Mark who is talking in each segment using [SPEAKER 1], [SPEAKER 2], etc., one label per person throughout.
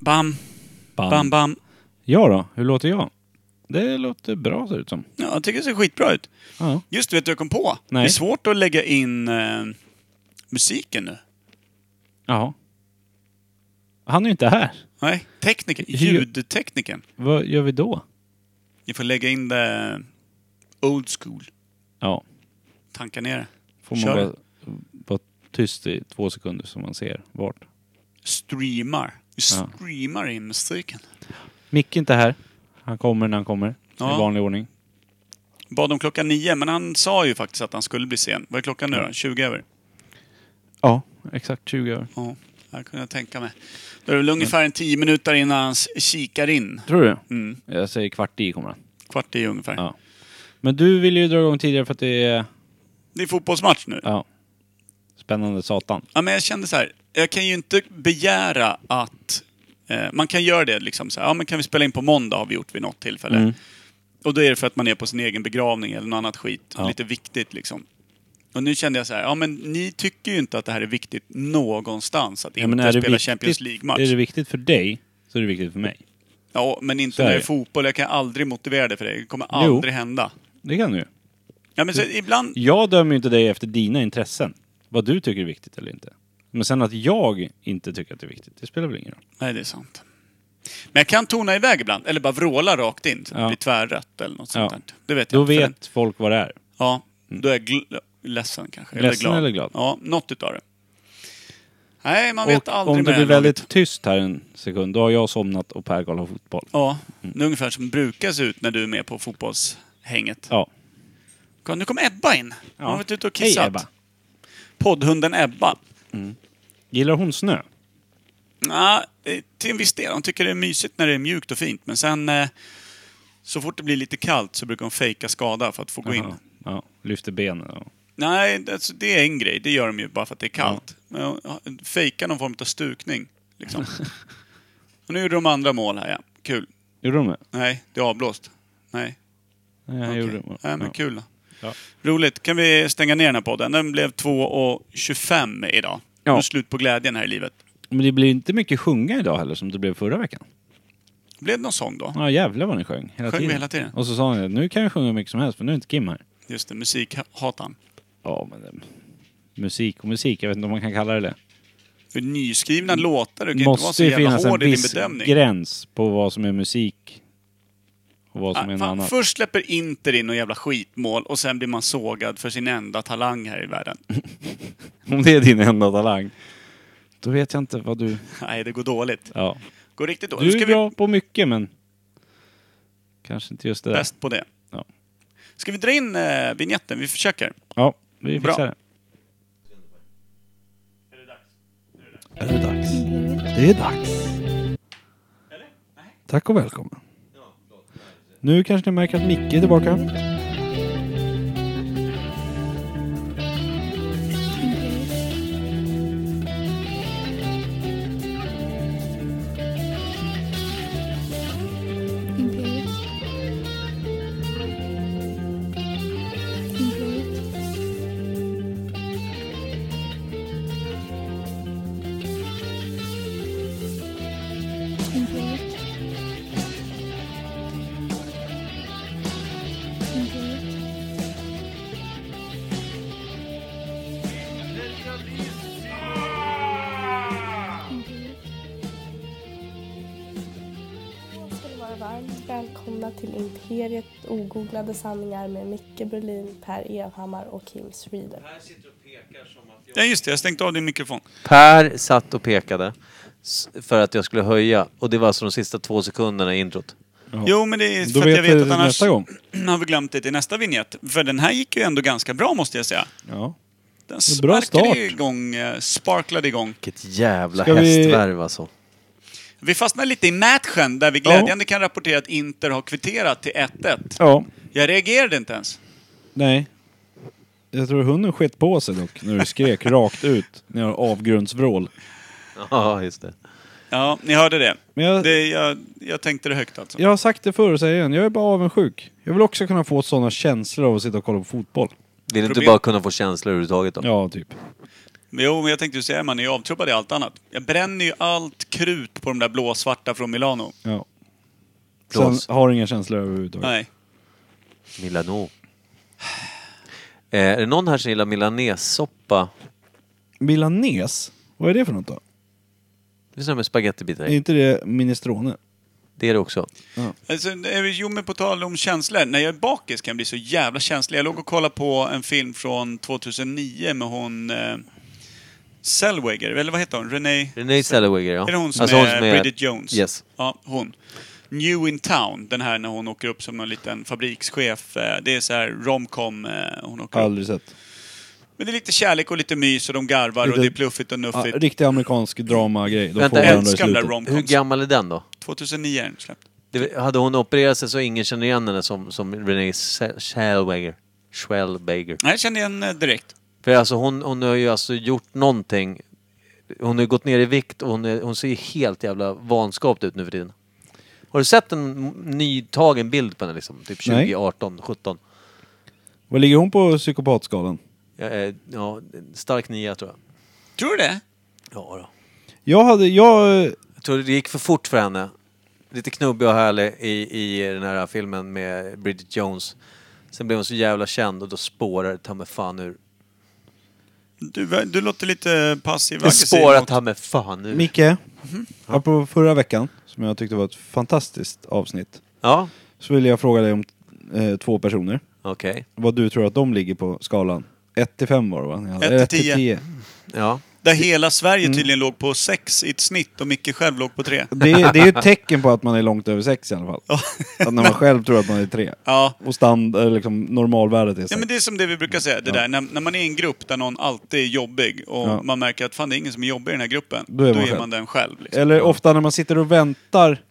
[SPEAKER 1] Bam, bam, bam.
[SPEAKER 2] Ja då, hur låter jag? Det låter bra ser det ut som.
[SPEAKER 1] Ja, jag tycker det ser skitbra ut.
[SPEAKER 2] Ja.
[SPEAKER 1] Just det, vet du vad jag kom på?
[SPEAKER 2] Nej.
[SPEAKER 1] Det är svårt att lägga in eh, musiken nu.
[SPEAKER 2] Jaha. Han är ju inte här.
[SPEAKER 1] Nej, tekniken,
[SPEAKER 2] Hur-
[SPEAKER 1] ljudtekniken.
[SPEAKER 2] Vad gör vi då?
[SPEAKER 1] Ni får lägga in det old school.
[SPEAKER 2] Ja,
[SPEAKER 1] Tanka ner det.
[SPEAKER 2] får man
[SPEAKER 1] Kör.
[SPEAKER 2] vara, vara tyst i två sekunder så man ser vart.
[SPEAKER 1] Streamar. Vi
[SPEAKER 2] Ja.
[SPEAKER 1] streamar in musiken.
[SPEAKER 2] Micke är inte här. Han kommer när han kommer.
[SPEAKER 1] Ja.
[SPEAKER 2] I vanlig ordning.
[SPEAKER 1] Bad om klockan nio, men han sa ju faktiskt att han skulle bli sen. Vad är klockan nu då? 20 över?
[SPEAKER 2] Ja, exakt 20 år.
[SPEAKER 1] Ja, det kunde jag tänka mig. Då är det väl ungefär en tio minuter innan han s- kikar in.
[SPEAKER 2] Tror du?
[SPEAKER 1] Mm,
[SPEAKER 2] Jag säger kvart i kommer han.
[SPEAKER 1] kvart i ungefär.
[SPEAKER 2] Ja. Men du ville ju dra igång tidigare för att det är...
[SPEAKER 1] Det är fotbollsmatch nu.
[SPEAKER 2] Ja. Spännande satan.
[SPEAKER 1] Ja, men jag kände så här. Jag kan ju inte begära att... Eh, man kan göra det liksom så här. Ja, men kan vi spela in på måndag har vi gjort vid något tillfälle.
[SPEAKER 2] Mm.
[SPEAKER 1] Och då är det för att man är på sin egen begravning eller något annat skit.
[SPEAKER 2] Ja.
[SPEAKER 1] Lite viktigt liksom. Och nu kände jag så här. Ja, men ni tycker ju inte att det här är viktigt någonstans. Att
[SPEAKER 2] Ja,
[SPEAKER 1] inte
[SPEAKER 2] men är det
[SPEAKER 1] spela
[SPEAKER 2] viktigt,
[SPEAKER 1] Champions League-match.
[SPEAKER 2] Är det viktigt för dig så är det viktigt för mig.
[SPEAKER 1] Ja, men inte
[SPEAKER 2] Så är
[SPEAKER 1] när det är
[SPEAKER 2] det.
[SPEAKER 1] fotboll. Jag kan aldrig motivera det för dig. Det kommer
[SPEAKER 2] Jo.
[SPEAKER 1] aldrig hända.
[SPEAKER 2] Det kan du ju.
[SPEAKER 1] Ja, men så ibland...
[SPEAKER 2] Jag dömer ju inte dig efter dina intressen. Vad du tycker är viktigt eller inte. Men sen att jag inte tycker att det är viktigt, det spelar väl ingen roll.
[SPEAKER 1] Nej, det är sant. Men jag kan tona iväg ibland. Eller bara vråla rakt in. Så det
[SPEAKER 2] Ja.
[SPEAKER 1] blir tvärrött eller något sånt
[SPEAKER 2] Ja.
[SPEAKER 1] där. Det vet jag.
[SPEAKER 2] Då
[SPEAKER 1] För
[SPEAKER 2] vet folk vad det är.
[SPEAKER 1] Ja, då är jag gl- ledsen kanske.
[SPEAKER 2] Ledsen eller glad?
[SPEAKER 1] Ja, något utav det. Nej, man vet
[SPEAKER 2] och
[SPEAKER 1] aldrig med
[SPEAKER 2] om det blir
[SPEAKER 1] här
[SPEAKER 2] väldigt
[SPEAKER 1] laget.
[SPEAKER 2] tyst här en sekund, då har jag somnat och Per kollar fotboll.
[SPEAKER 1] Ja, det är ungefär som det brukar se ut när du är med på fotbollshänget.
[SPEAKER 2] Ja.
[SPEAKER 1] Kom, Nu kom Ebba in. Hon har varit ute och kissat.
[SPEAKER 2] Hej Ebba.
[SPEAKER 1] Poddhunden Ebba.
[SPEAKER 2] Gillar hon snö?
[SPEAKER 1] Ja, eh, till en viss del. Hon tycker det är mysigt när det är mjukt och fint. Men sen eh, så fort det blir lite kallt så brukar hon fejka skada för att få gå in.
[SPEAKER 2] Ja. ja. Lyfter benen och...
[SPEAKER 1] Nej, alltså, det är en grej. Det gör de ju bara för att det är kallt. Men ja, Fejka någon form av stukning. Liksom. och nu gjorde de andra mål här, ja. Kul.
[SPEAKER 2] Gjorde de det?
[SPEAKER 1] Nej, det är avblåst. Nej,
[SPEAKER 2] Nej, jag
[SPEAKER 1] okej.
[SPEAKER 2] gjorde det.
[SPEAKER 1] Nej men
[SPEAKER 2] Ja.
[SPEAKER 1] kul då.
[SPEAKER 2] Ja.
[SPEAKER 1] Roligt. Kan vi stänga ner den här podden? Den blev 2.25 idag.
[SPEAKER 2] Ja.
[SPEAKER 1] Nu är slut på glädjen här i livet.
[SPEAKER 2] Men det blir inte mycket sjunga idag heller som det blev förra veckan.
[SPEAKER 1] Blev det någon sång då?
[SPEAKER 2] Ja jävlar vad ni sjöng. Hela
[SPEAKER 1] Sjöng vi
[SPEAKER 2] tiden.
[SPEAKER 1] hela tiden?
[SPEAKER 2] Och så sa ni nu kan vi sjunga hur mycket som helst för nu är inte Kim här.
[SPEAKER 1] Just det, musikhatan.
[SPEAKER 2] Ja men... eh, Musik och musik, jag vet inte om man kan kalla det det.
[SPEAKER 1] För nyskrivna låtar, du kan inte vara
[SPEAKER 2] måste
[SPEAKER 1] så
[SPEAKER 2] ju
[SPEAKER 1] jävla
[SPEAKER 2] finnas en
[SPEAKER 1] hård i din
[SPEAKER 2] viss
[SPEAKER 1] bedömning.
[SPEAKER 2] gräns på vad som är musik och vad som är
[SPEAKER 1] Ah,
[SPEAKER 2] något
[SPEAKER 1] fan,
[SPEAKER 2] annat.
[SPEAKER 1] först släpper Inter in något jävla skitmål och sen blir man sågad för sin enda talang här i världen.
[SPEAKER 2] Om det är din enda talang, då vet jag inte vad du...
[SPEAKER 1] Nej, det går dåligt.
[SPEAKER 2] Ja.
[SPEAKER 1] Går riktigt dåligt. Nu
[SPEAKER 2] Du
[SPEAKER 1] ska
[SPEAKER 2] är
[SPEAKER 1] vi
[SPEAKER 2] bra på mycket men kanske inte just det där.
[SPEAKER 1] bäst på det.
[SPEAKER 2] Ja.
[SPEAKER 1] Ska vi dra in eh, vignetten? Vi försöker.
[SPEAKER 2] Ja, vi
[SPEAKER 1] Bra.
[SPEAKER 2] fixar det. Är det dags? Det är dags. Tack och välkommen. Nu kanske ni märker att Micke är tillbaka.
[SPEAKER 3] Imperiet. Imperiet. Imperiet. Imperiet.
[SPEAKER 4] ska ni vara varmt välkomna till Imperiet ogooglade sanningar med Micke Berlin, Per Evhammar och Kim Sweden.
[SPEAKER 1] Ja, just det. Jag stängde av din mikrofon.
[SPEAKER 5] Per satt och pekade s- för att jag skulle höja och det var alltså de sista två sekunderna i introt.
[SPEAKER 1] Jo, men det är
[SPEAKER 2] Då
[SPEAKER 1] för att
[SPEAKER 2] vet
[SPEAKER 1] jag vet
[SPEAKER 2] vi
[SPEAKER 1] att
[SPEAKER 2] det
[SPEAKER 1] annars
[SPEAKER 2] nästa gång.
[SPEAKER 1] har vi glömt det till nästa vignett. För den här gick ju ändå ganska bra, måste jag säga.
[SPEAKER 2] Ja.
[SPEAKER 1] Den
[SPEAKER 2] är bra
[SPEAKER 1] sparkade
[SPEAKER 2] start.
[SPEAKER 1] igång, eh, sparklade igång.
[SPEAKER 5] Vilket jävla
[SPEAKER 2] Ska vi-
[SPEAKER 5] hästvärv alltså.
[SPEAKER 1] Vi fastnar lite i matchen, där vi glädjande kan rapportera att Inter har kvitterat till 1-1.
[SPEAKER 2] ja,
[SPEAKER 1] Jag reagerade inte ens.
[SPEAKER 2] nej. Jag tror hunden skett på sig dock när du skrek rakt ut när jag avgrundsvrål.
[SPEAKER 5] Ja, just det.
[SPEAKER 1] Ja, ni hörde det.
[SPEAKER 2] Men jag-
[SPEAKER 1] det jag, jag tänkte det högt alltså.
[SPEAKER 2] Jag har sagt det förr och säger det igen, jag är bara avundsjuk. Jag vill också kunna få sådana känslor av att sitta och kolla på fotboll.
[SPEAKER 5] Vill du inte
[SPEAKER 1] Problem-
[SPEAKER 5] bara kunna få känslor överhuvudtaget då?
[SPEAKER 2] Ja, typ.
[SPEAKER 1] Men Jo, men jag tänkte ju säga man är ju avtrubbad i allt annat. Jag bränner ju allt krut på de där blåsvarta från Milano.
[SPEAKER 2] Ja. Sen
[SPEAKER 5] Blås.
[SPEAKER 2] har du inga känslor överhuvudtaget.
[SPEAKER 1] Nej.
[SPEAKER 5] Milano. Eh, är det någon här som gillar milanessoppa?
[SPEAKER 2] Milanes? Vad är det för något då?
[SPEAKER 5] Det finns det med spagettibitar
[SPEAKER 2] Är
[SPEAKER 5] i.
[SPEAKER 2] inte det minestrone?
[SPEAKER 5] Det är det också.
[SPEAKER 1] Alltså, eh, jo, men på tal om känslor. När jag är bakis kan jag bli så jävla känslig. Jag låg och kollade på en film från 2009 med hon... Eh, Zellweger, eller vad heter hon? Renee...
[SPEAKER 5] Renée Zellweger, ja.
[SPEAKER 1] Är det hon som,
[SPEAKER 5] Alltså
[SPEAKER 1] är, Bridget Jones?
[SPEAKER 5] Yes.
[SPEAKER 1] Ja, hon. New in Town, den här när hon åker upp som en liten fabrikschef. eh, Det är så här romcom eh, hon åker upp.
[SPEAKER 2] Aldrig sett.
[SPEAKER 1] Men det är lite kärlek och lite mys och de garvar och
[SPEAKER 2] Lite-
[SPEAKER 1] det är pluffigt och
[SPEAKER 2] Ah,
[SPEAKER 1] nuffigt.
[SPEAKER 2] riktig amerikansk dramagrej. Då
[SPEAKER 5] Vänta,
[SPEAKER 2] får
[SPEAKER 1] jag
[SPEAKER 2] man ändå i
[SPEAKER 1] älskar de där
[SPEAKER 2] slutet.
[SPEAKER 5] Hur
[SPEAKER 1] romcoms.
[SPEAKER 5] gammal är den då?
[SPEAKER 1] 2009 är den släppt.
[SPEAKER 5] Det, hade hon opererat sig så ingen känner igen henne som, som Renée Zell- Zellweger? Zellweger.
[SPEAKER 1] Nej, jag kände igen eh, direkt.
[SPEAKER 5] För alltså hon, hon har ju alltså gjort någonting. Hon har ju gått ner i vikt och hon, är, hon ser ju helt jävla vanskapt ut nu för tiden. Har du sett en m- nytagen bild på henne liksom? Typ
[SPEAKER 2] Nej.
[SPEAKER 5] 2018, 17?
[SPEAKER 2] Vad ligger hon på psykopatskalan?
[SPEAKER 5] Ja, eh, ja, stark nia tror jag.
[SPEAKER 1] Tror du det?
[SPEAKER 5] Ja, då.
[SPEAKER 2] Jag hade, jag... eh,
[SPEAKER 5] Jag tror det gick för fort för henne. Lite knubbig och härlig i, i den här filmen med Bridget Jones. Sen blev hon så jävla känd och då spårar det ta mig fan ur.
[SPEAKER 1] Du, du låter lite passiv
[SPEAKER 5] Det spårar
[SPEAKER 1] aggressiv.
[SPEAKER 5] ta mig fan ur.
[SPEAKER 2] Micke, apropå förra veckan, som jag tyckte var ett fantastiskt avsnitt,
[SPEAKER 5] Ja,
[SPEAKER 2] så ville jag fråga dig om eh, två personer.
[SPEAKER 5] okej.
[SPEAKER 2] Vad du tror att de ligger på skalan. 1 till 5 var det va?
[SPEAKER 1] Ett till
[SPEAKER 2] Eller
[SPEAKER 1] tio.
[SPEAKER 5] Ja.
[SPEAKER 1] Där hela Sverige tydligen låg på sex i ett snitt och Micke själv låg på tre.
[SPEAKER 2] Det, är- det är ett tecken på att man är långt över 6 i alla fall. Att när man själv tror att man är 3.
[SPEAKER 1] Ja.
[SPEAKER 2] Och standard, liksom normalvärdet är
[SPEAKER 1] Ja,
[SPEAKER 2] 6.
[SPEAKER 1] men det är som det vi brukar säga, det där när, när man är i en grupp där någon alltid är jobbig och
[SPEAKER 2] Ja.
[SPEAKER 1] man märker att fan det är ingen som är jobbig i den här gruppen.
[SPEAKER 2] Då är man själv.
[SPEAKER 1] den själv. Liksom.
[SPEAKER 2] Eller ofta när man sitter och väntar,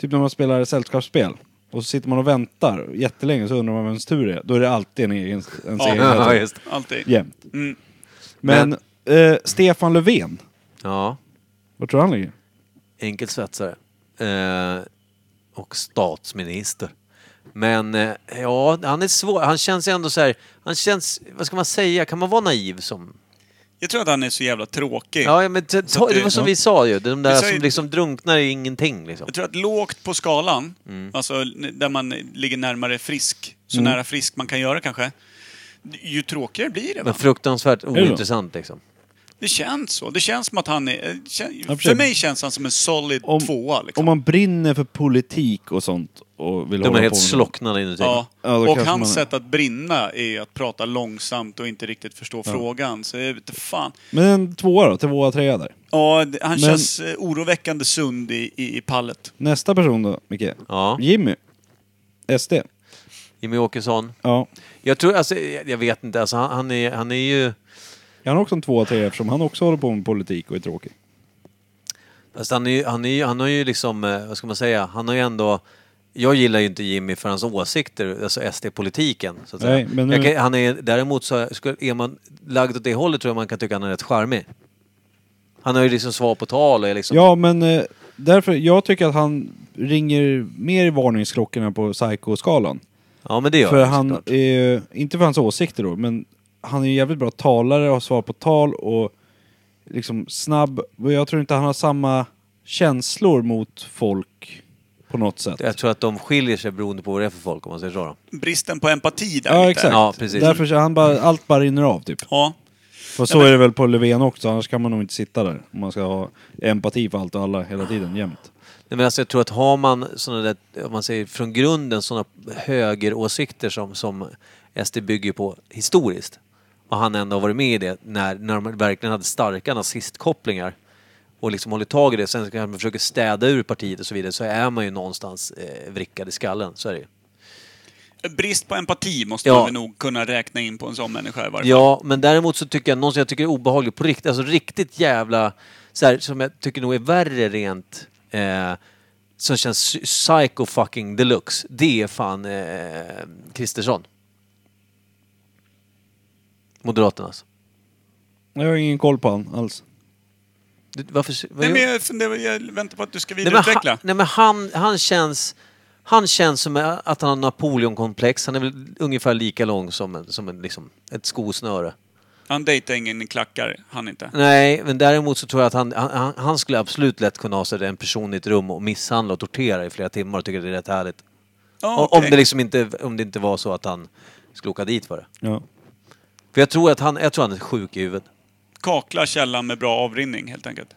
[SPEAKER 2] typ när man spelar sällskapsspel. Och så sitter man och väntar jättelänge så undrar man vems tur det är. Då är det alltid en egen, ens
[SPEAKER 1] Ja.
[SPEAKER 2] egen hela tiden.
[SPEAKER 5] just det.
[SPEAKER 1] Alltid.
[SPEAKER 2] Jämt.
[SPEAKER 1] Mm.
[SPEAKER 2] Men, eh, Stefan Löfven,
[SPEAKER 5] Ja,
[SPEAKER 2] var tror du han ligger?
[SPEAKER 5] enkel svetsare. Eh, och statsminister. Men eh, ja, han är svår. Han känns ju ändå så här. Han känns, vad ska man säga, kan man vara naiv som
[SPEAKER 1] Jag tror att han är så jävla tråkig.
[SPEAKER 5] Ja, ja, men t-
[SPEAKER 1] Så att
[SPEAKER 5] ta, det
[SPEAKER 1] det-
[SPEAKER 5] var som
[SPEAKER 1] ja.
[SPEAKER 5] vi sa ju. De där
[SPEAKER 1] Vi sa ju-
[SPEAKER 5] som liksom drunknar i ingenting liksom.
[SPEAKER 1] Jag tror att lågt på skalan,
[SPEAKER 2] Mm.
[SPEAKER 1] alltså n- där man ligger närmare frisk, så nära frisk man kan göra kanske, ju tråkigare blir det.
[SPEAKER 5] Men
[SPEAKER 1] Va?
[SPEAKER 5] fruktansvärt
[SPEAKER 2] det
[SPEAKER 5] ointressant liksom.
[SPEAKER 1] Det känns så. Det känns som att han är... eh, kän-
[SPEAKER 2] Ja,
[SPEAKER 1] För
[SPEAKER 2] precis.
[SPEAKER 1] mig känns han som en solid
[SPEAKER 2] Om-
[SPEAKER 1] tvåa. Liksom.
[SPEAKER 2] Om man brinner för politik och sånt och vill
[SPEAKER 5] De
[SPEAKER 2] hålla
[SPEAKER 5] är
[SPEAKER 2] på
[SPEAKER 5] helt
[SPEAKER 2] med det.
[SPEAKER 5] slocknade inuti.
[SPEAKER 1] Ja.
[SPEAKER 2] Ja, då
[SPEAKER 1] och
[SPEAKER 2] kanske
[SPEAKER 1] hans
[SPEAKER 2] man-
[SPEAKER 1] sätt att brinna är att prata långsamt och inte riktigt förstå frågan. Så jag vet inte fan.
[SPEAKER 2] Men en tvåa då, tvåa, trea där.
[SPEAKER 1] Ja, det- han
[SPEAKER 2] Men-
[SPEAKER 1] känns eh, oroväckande sund i, i, i pallet.
[SPEAKER 2] Nästa person då, Micke?
[SPEAKER 5] Ja.
[SPEAKER 2] Jimmy. SD.
[SPEAKER 5] Jimmy Åkesson.
[SPEAKER 2] Ja.
[SPEAKER 5] Jag tror, alltså, jag jag vet inte, alltså, han, han, är, han är ju...
[SPEAKER 2] Han har också en tvåa, trea eftersom han också håller på med politik och är tråkig.
[SPEAKER 5] Alltså, han, är, ju- han, är, ju- han har ju liksom, eh, vad ska man säga, han har ju ändå... Jag gillar ju inte Jimmy för hans åsikter, alltså SD-politiken. Så att
[SPEAKER 2] Nej,
[SPEAKER 5] säga.
[SPEAKER 2] men nu-
[SPEAKER 5] jag kan, han är, däremot så skulle- är man lagd åt det hållet tror jag man kan tycka han är rätt charmig. Han har ju liksom svar på tal och är liksom...
[SPEAKER 2] Ja, men eh, därför, jag tycker att han ringer mer i varningsklockorna på psykoskalan.
[SPEAKER 5] Ja, men det gör
[SPEAKER 2] För
[SPEAKER 5] han
[SPEAKER 2] han
[SPEAKER 5] såklart.
[SPEAKER 2] är ju, inte för hans åsikter då, men han är ju jävligt bra talare, har svar på tal och liksom snabb. Och jag tror inte han har samma känslor mot folk på något sätt.
[SPEAKER 5] Jag tror att de skiljer sig beroende på vad det är för folk om man säger så. Då.
[SPEAKER 1] Bristen på empati där
[SPEAKER 2] Ja,
[SPEAKER 1] lite.
[SPEAKER 2] exakt.
[SPEAKER 5] Ja, precis.
[SPEAKER 2] Därför så han bara, allt bara rinner av typ.
[SPEAKER 1] Ja.
[SPEAKER 2] Och så är det väl på Löfven också, annars kan man nog inte sitta där. Om man ska ha empati för allt och alla hela tiden, jämt.
[SPEAKER 5] Nej, men alltså, jag tror att har man såna där, om man säger från grunden sådana högeråsikter som, som SD bygger på historiskt och han ändå har varit med i det när, när de verkligen hade starka nazistkopplingar och liksom hållit tag i det, sen kanske man försöker städa ur partiet och så vidare, så är man ju någonstans eh, vrickad i skallen. Så är det ju.
[SPEAKER 1] Brist på empati måste
[SPEAKER 5] Ja.
[SPEAKER 1] vi nog kunna räkna in på en sån människa i varje fall.
[SPEAKER 5] Ja, men däremot så tycker jag någon som jag tycker är obehaglig på riktigt, alltså riktigt jävla, så här, som jag tycker nog är värre rent, eh, som känns psy- psycho fucking deluxe, det är fan eh, Kristersson. Moderaternas.
[SPEAKER 2] Jag har ingen koll på han alls.
[SPEAKER 5] Du, varför... vad
[SPEAKER 1] Nej,
[SPEAKER 5] gör-
[SPEAKER 1] men jag, funderar, jag väntar på att du ska
[SPEAKER 5] Nej, men,
[SPEAKER 1] vidareutveckla.
[SPEAKER 5] han, nej, men han, han känns... Han känns som eh, att han har Napoleonkomplex. Han är väl ungefär lika lång som, en, som en, liksom, ett skosnöre.
[SPEAKER 1] Han dejtar ingen klackar, han inte.
[SPEAKER 5] Nej, men däremot så tror jag att han, han, han skulle absolut lätt kunna ha sig en person i ett rum och misshandla och tortera i flera timmar och tycka det är rätt härligt.
[SPEAKER 1] Ja,
[SPEAKER 5] Om-
[SPEAKER 1] okej.
[SPEAKER 5] Om det liksom inte, om det inte var så att han skulle åka dit för det.
[SPEAKER 2] Ja.
[SPEAKER 5] För jag tror att han, jag tror han är sjuk i huvudet.
[SPEAKER 1] Kakla källan med bra avrinning helt enkelt.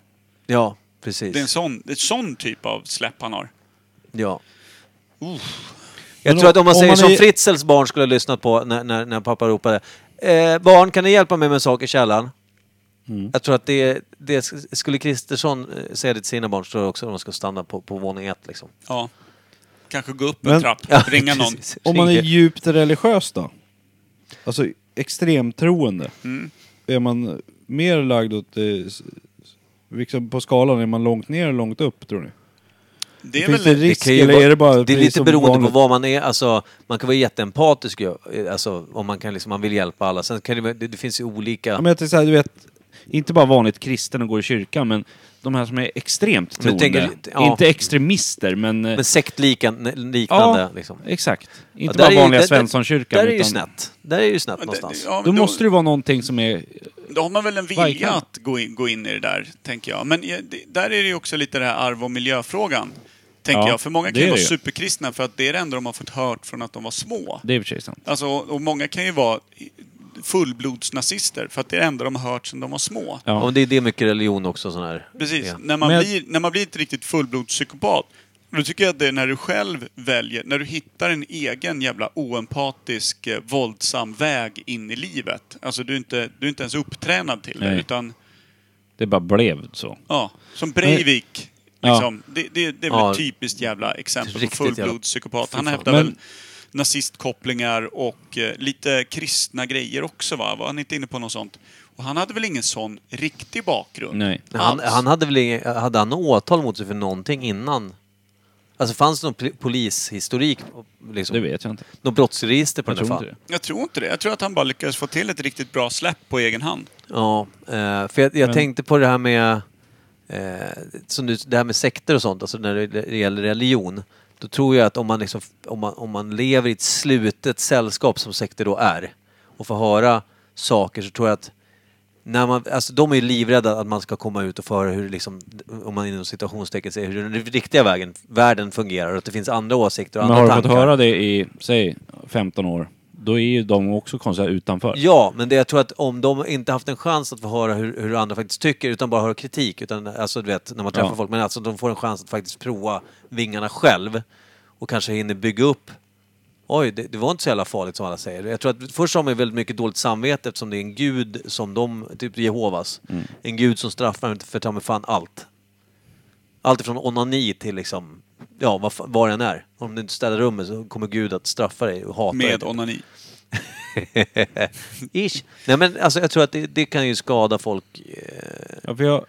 [SPEAKER 5] Ja, precis.
[SPEAKER 1] Det är en sån, det är en sån typ av släpp han har.
[SPEAKER 5] Ja.
[SPEAKER 2] Men
[SPEAKER 5] Jag tror att om man
[SPEAKER 2] om
[SPEAKER 5] säger
[SPEAKER 2] man
[SPEAKER 5] som
[SPEAKER 2] är-
[SPEAKER 5] Fritzels barn skulle ha lyssnat på när, när, när pappa ropade. Eh, barn, kan ni hjälpa mig med en sak i källaren?
[SPEAKER 2] Mm.
[SPEAKER 5] Jag tror att det, det sk- skulle Kristersson eh, säga det till sina barn så tror jag också att de ska stanna på, på våning ett liksom.
[SPEAKER 1] Ja. Kanske gå upp en
[SPEAKER 2] Men-
[SPEAKER 1] trapp,
[SPEAKER 5] Ja,
[SPEAKER 1] ringa någon.
[SPEAKER 5] precis.
[SPEAKER 2] Om man är
[SPEAKER 5] Ringer.
[SPEAKER 2] djupt religiös då? Alltså extremtroende.
[SPEAKER 1] Mm.
[SPEAKER 2] Är man mer lagd åt... Eh, s- liksom på skalan, är man långt ner eller långt upp tror ni?
[SPEAKER 1] Det är
[SPEAKER 2] Finns
[SPEAKER 1] väl...
[SPEAKER 2] det risk
[SPEAKER 5] kan ju
[SPEAKER 2] eller
[SPEAKER 5] vara-
[SPEAKER 2] är det bara
[SPEAKER 5] Det är
[SPEAKER 2] precis
[SPEAKER 5] lite
[SPEAKER 2] som
[SPEAKER 5] beroende
[SPEAKER 2] vanligt?
[SPEAKER 5] på vad man är. Alltså, man kan vara jätteempatisk ju. Eh, Alltså, om man kan liksom, man vill hjälpa alla. Sen kan det, vara- det, det finns ju olika...
[SPEAKER 2] Ja, men jag tänker så här, du vet, inte bara vanligt kristen och går i kyrkan, men de här som är extremt
[SPEAKER 5] Men du
[SPEAKER 2] troende.
[SPEAKER 5] tänker lite- ja.
[SPEAKER 2] Inte extremister, men... eh,
[SPEAKER 5] Men sektliknande liknande
[SPEAKER 2] ja,
[SPEAKER 5] liksom.
[SPEAKER 2] exakt. Inte
[SPEAKER 5] Ja, där är
[SPEAKER 2] bara
[SPEAKER 5] ju-
[SPEAKER 2] vanliga
[SPEAKER 5] där- där-
[SPEAKER 2] Svenssonskyrkan.
[SPEAKER 5] Där är ju
[SPEAKER 2] utan-
[SPEAKER 5] snett. Där är ju snett någonstans.
[SPEAKER 1] Ja, men
[SPEAKER 2] Då måste det vara någonting som är...
[SPEAKER 1] Då har man väl en vilja
[SPEAKER 2] Verkligen.
[SPEAKER 1] att gå in, gå in i det där, tänker jag. Men eh, det, där är det ju också lite det här arv och miljöfrågan. Tänker
[SPEAKER 2] Ja,
[SPEAKER 1] jag. För många
[SPEAKER 2] det
[SPEAKER 1] kan ju
[SPEAKER 2] är
[SPEAKER 1] vara
[SPEAKER 2] det ju.
[SPEAKER 1] superkristna för att det är det enda de har fått hört från att de var små.
[SPEAKER 2] Det är i och för sig sant.
[SPEAKER 1] Alltså, och och många kan ju vara fullblodsnazister för att det är det enda de har hört sedan de var små.
[SPEAKER 2] Ja.
[SPEAKER 5] Ja, men det är det är mycket religion också sån här.
[SPEAKER 1] Precis.
[SPEAKER 5] Ja.
[SPEAKER 1] När, man
[SPEAKER 2] Men-
[SPEAKER 1] blir, när man blir ett riktigt fullblodspsykopat, då tycker jag att det är när du själv väljer, när du hittar en egen jävla oempatisk, eh, våldsam väg in i livet. Alltså du är inte, du är inte ens upptränad till det,
[SPEAKER 2] Nej.
[SPEAKER 1] utan
[SPEAKER 2] Det bara blev så.
[SPEAKER 1] ja, som Breivik.
[SPEAKER 2] Ja.
[SPEAKER 1] Liksom. Det, det, det är väl
[SPEAKER 5] Ja.
[SPEAKER 1] ett typiskt jävla exempel på
[SPEAKER 5] Riktigt jävla-
[SPEAKER 1] fullblodspsykopat. Han
[SPEAKER 5] Fy fan.
[SPEAKER 1] hävdar
[SPEAKER 2] Men-
[SPEAKER 1] väl nazistkopplingar och eh, lite kristna grejer också va? Var han inte inne på något sånt? Och han hade väl ingen sån riktig bakgrund?
[SPEAKER 2] Nej.
[SPEAKER 5] Men Han,
[SPEAKER 1] alls?
[SPEAKER 5] han hade väl ingen, hade han åtal mot sig för någonting innan? Alltså fanns det någon pol- polishistorik?
[SPEAKER 2] Det
[SPEAKER 5] Liksom,
[SPEAKER 2] vet jag inte.
[SPEAKER 5] något brottsregister på
[SPEAKER 2] Jag
[SPEAKER 5] den
[SPEAKER 2] tror
[SPEAKER 5] här
[SPEAKER 2] inte
[SPEAKER 5] fall?
[SPEAKER 2] det.
[SPEAKER 1] Jag tror inte det. Jag tror att han bara lyckades få till ett riktigt bra släpp på egen hand.
[SPEAKER 5] Ja, eh, för jag, jag
[SPEAKER 2] Men-
[SPEAKER 5] tänkte på det här med eh, som du, det här med sekter och sånt, alltså när det, det gäller religion. Då tror jag att om man, liksom, om, man, om man lever i ett slutet sällskap som sekter då är och får höra saker så tror jag att när man, alltså de är ju livrädda att man ska komma ut och föra hur liksom, om man inom citationstecken säger hur den riktiga vägen, världen fungerar och att det finns andra åsikter och
[SPEAKER 2] Men
[SPEAKER 5] andra
[SPEAKER 2] har du
[SPEAKER 5] tankar.
[SPEAKER 2] fått höra det i, säg, 15 år, då är ju de också konstiga utanför.
[SPEAKER 5] Ja, men det, jag tror att om de inte haft en chans att få höra hur, hur andra faktiskt tycker utan bara höra kritik, utan, alltså du vet, när man träffar
[SPEAKER 2] Ja.
[SPEAKER 5] folk, men alltså de får en chans att faktiskt prova vingarna själv och kanske hinner bygga upp Oj, det, det var inte så jävla farligt som alla säger. Jag tror att först har man ju väldigt mycket dåligt samvete eftersom det är en gud som de, typ Jehovas, en gud som straffar en för ta mig fan allt. Allt ifrån onani till liksom, ja vad, fa- vad den är. Om du inte städar rummet så kommer gud att straffa dig och hata dig.
[SPEAKER 1] Med onani.
[SPEAKER 5] Ish. Nej men alltså jag tror att det, det kan ju skada folk. eh,
[SPEAKER 2] Ja, för, jag,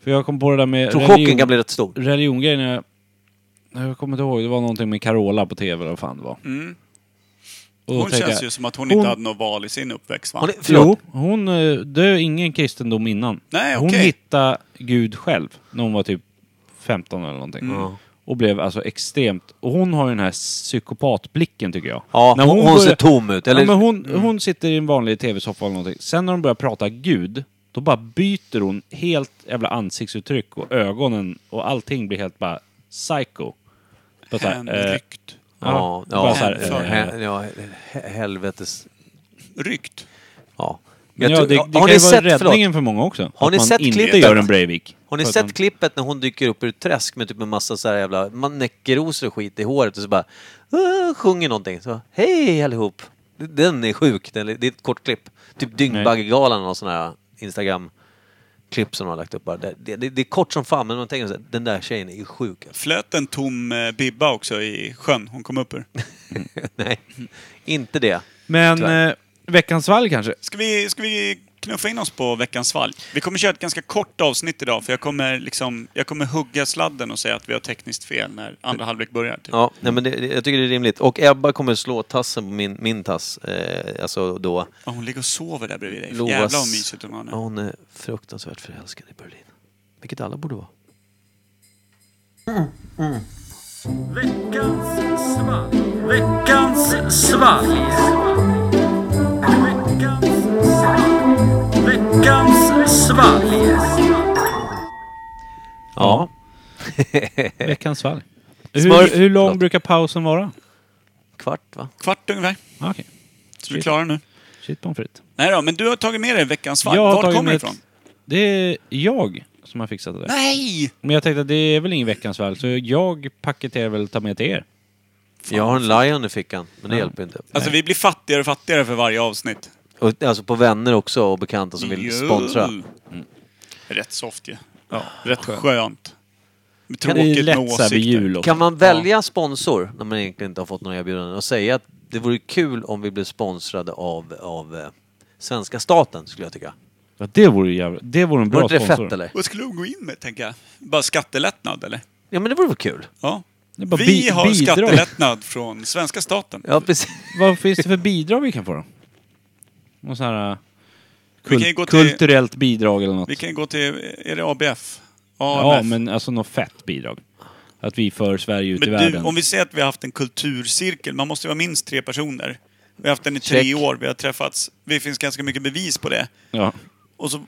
[SPEAKER 2] för jag kom på det där med
[SPEAKER 5] Jag tror
[SPEAKER 2] religion-
[SPEAKER 5] chocken kan bli rätt stor.
[SPEAKER 2] religiongrejen. Jag, jag kommer inte ihåg, det var någonting med Carola på tv eller vad fan det var.
[SPEAKER 1] Mm.
[SPEAKER 2] Och då
[SPEAKER 1] Hon
[SPEAKER 2] tänkte
[SPEAKER 1] känns
[SPEAKER 2] jag,
[SPEAKER 1] ju som att hon,
[SPEAKER 2] hon-
[SPEAKER 1] inte hade något val i sin uppväxt va?
[SPEAKER 5] Hon är,
[SPEAKER 2] Jo,
[SPEAKER 5] förlåt.
[SPEAKER 2] hon, eh, det är ingen kristendom innan.
[SPEAKER 1] Nej,
[SPEAKER 2] hon
[SPEAKER 1] okej.
[SPEAKER 2] hittade Gud själv när hon var typ 15 eller någonting.
[SPEAKER 5] Mm.
[SPEAKER 2] Och blev alltså extremt... Och hon har ju den här psykopatblicken tycker jag.
[SPEAKER 5] Ja,
[SPEAKER 2] När
[SPEAKER 5] hon, hon
[SPEAKER 2] börjar-
[SPEAKER 5] ser tom ut. Eller,
[SPEAKER 2] Ja, men hon, hon sitter i en vanlig tv-soffa eller någonting. Sen när de börjar prata Gud, då bara byter hon helt jävla ansiktsuttryck och ögonen och allting blir helt bara psycho. Bara så här, eh,
[SPEAKER 1] Hänryckt.
[SPEAKER 5] ja, ja,
[SPEAKER 2] bara så här,
[SPEAKER 5] eh,
[SPEAKER 2] eh,
[SPEAKER 5] hel- ja, he- helvetes...
[SPEAKER 1] Ryckt.
[SPEAKER 5] Ja.
[SPEAKER 2] men
[SPEAKER 5] Jag
[SPEAKER 2] ja,
[SPEAKER 5] tror-
[SPEAKER 2] det, det
[SPEAKER 5] har
[SPEAKER 2] kan
[SPEAKER 5] ni
[SPEAKER 2] ju vara
[SPEAKER 5] sett,
[SPEAKER 2] räddningen
[SPEAKER 5] förlåt,
[SPEAKER 2] för många också.
[SPEAKER 5] Har
[SPEAKER 2] att
[SPEAKER 5] ni
[SPEAKER 2] man
[SPEAKER 5] sett
[SPEAKER 2] inte
[SPEAKER 5] klippet?
[SPEAKER 2] gör en Breivik.
[SPEAKER 5] har ni
[SPEAKER 2] För att
[SPEAKER 5] sett
[SPEAKER 2] man-
[SPEAKER 5] klippet när hon dyker upp ur ett träsk med typ en massa så här jävla man- näckrosor och skit i håret och så bara "Ah", sjunger någonting. Så, hej allihop! Den är sjuk. Den, är- det är ett kort klipp. Typ Dyngbaggegalan och sån här Instagram-klipp som de har lagt upp bara. Det, det, det är kort som fan men man tänker så här, den där tjejen är ju sjuk. alltså."
[SPEAKER 1] Flöt en tom eh, bibba också i sjön hon kom upp ur.
[SPEAKER 5] Nej, inte det.
[SPEAKER 2] Men
[SPEAKER 5] Tyvärr.
[SPEAKER 2] eh, veckans valg kanske?
[SPEAKER 1] Ska vi, ska vi knuffa in oss på veckans fall? Vi kommer köra ett ganska kort avsnitt idag för jag kommer, liksom, jag kommer hugga sladden och säga att vi har tekniskt fel när andra halvlek börjar. Typ.
[SPEAKER 5] Ja, nej, men det, det- jag tycker det är rimligt. Och Ebba kommer slå tassen på min, min tass. Eh, alltså då.
[SPEAKER 1] Ja, hon ligger och sover där bredvid dig.
[SPEAKER 5] Lovas-
[SPEAKER 1] Jävlar vad mysigt hon har
[SPEAKER 5] Ja,
[SPEAKER 1] nu.
[SPEAKER 5] hon är fruktansvärt förälskad i Berlin. Vilket alla borde vara.
[SPEAKER 3] Veckans svalg. Veckans svalg. Veckans svalg.
[SPEAKER 5] Ja.
[SPEAKER 2] Veckans svalg.
[SPEAKER 5] Smurf.
[SPEAKER 2] Hur, hur lång
[SPEAKER 5] Förlåt.
[SPEAKER 2] brukar pausen vara?
[SPEAKER 5] Kvart va?
[SPEAKER 1] Kvart ungefär.
[SPEAKER 2] Ah, Okej.
[SPEAKER 1] Så vi klarar nu.
[SPEAKER 2] Shit pommes frites.
[SPEAKER 1] Nej då, men du har tagit med dig veckans svalg.
[SPEAKER 2] Jag har
[SPEAKER 1] Var
[SPEAKER 2] tagit
[SPEAKER 1] kommer det ifrån?
[SPEAKER 2] med ett- Det är jag som har fixat det där.
[SPEAKER 1] Nej!
[SPEAKER 2] Men jag tänkte att det är väl ingen veckans svalg, så jag paketerar väl och tar med till er.
[SPEAKER 5] Jag har en lion i fickan, men det hjälper inte.
[SPEAKER 1] Alltså vi blir fattigare och fattigare för varje avsnitt.
[SPEAKER 5] Och, alltså på vänner också och bekanta som vill
[SPEAKER 1] Jo.
[SPEAKER 5] sponsra.
[SPEAKER 2] Mm.
[SPEAKER 1] Rätt soft ju. Ja, rätt skönt.
[SPEAKER 2] det är
[SPEAKER 1] Tråkigt med
[SPEAKER 2] lätt så här
[SPEAKER 1] åsikter.
[SPEAKER 2] vid jul också.
[SPEAKER 5] Kan man välja sponsor när man egentligen inte har fått några erbjudanden och säga att det vore kul om vi blev sponsrade av, av eh, svenska staten skulle jag tycka.
[SPEAKER 2] Ja, det vore ju jävla... Det vore en bra
[SPEAKER 5] Vore inte det
[SPEAKER 2] sponsor.
[SPEAKER 5] fett eller?
[SPEAKER 1] Vad skulle de gå in med, tänker jag? Bara skattelättnad, eller?
[SPEAKER 5] Ja men det vore väl kul?
[SPEAKER 1] Ja.
[SPEAKER 2] Det är bara
[SPEAKER 1] Vi
[SPEAKER 2] bi-
[SPEAKER 1] har
[SPEAKER 2] bidrag.
[SPEAKER 1] skattelättnad från svenska staten.
[SPEAKER 5] Ja precis.
[SPEAKER 2] Vad finns det för bidrag vi kan få då? Någon sån här... eh,
[SPEAKER 1] Vi kan
[SPEAKER 2] kul-
[SPEAKER 1] ju gå till-
[SPEAKER 2] kulturellt bidrag eller något.
[SPEAKER 1] Vi kan ju gå till, är det ABF?
[SPEAKER 2] Ja,
[SPEAKER 1] AMF.
[SPEAKER 2] men alltså något fett bidrag. Att vi för Sverige ut i
[SPEAKER 1] Men du,
[SPEAKER 2] världen.
[SPEAKER 1] om vi säger att vi har haft en kulturcirkel, man måste ju vara minst tre personer. Vi har haft den i tre
[SPEAKER 5] Check.
[SPEAKER 1] år, vi har träffats. Det finns ganska mycket bevis på det.
[SPEAKER 2] Ja.
[SPEAKER 1] Och så...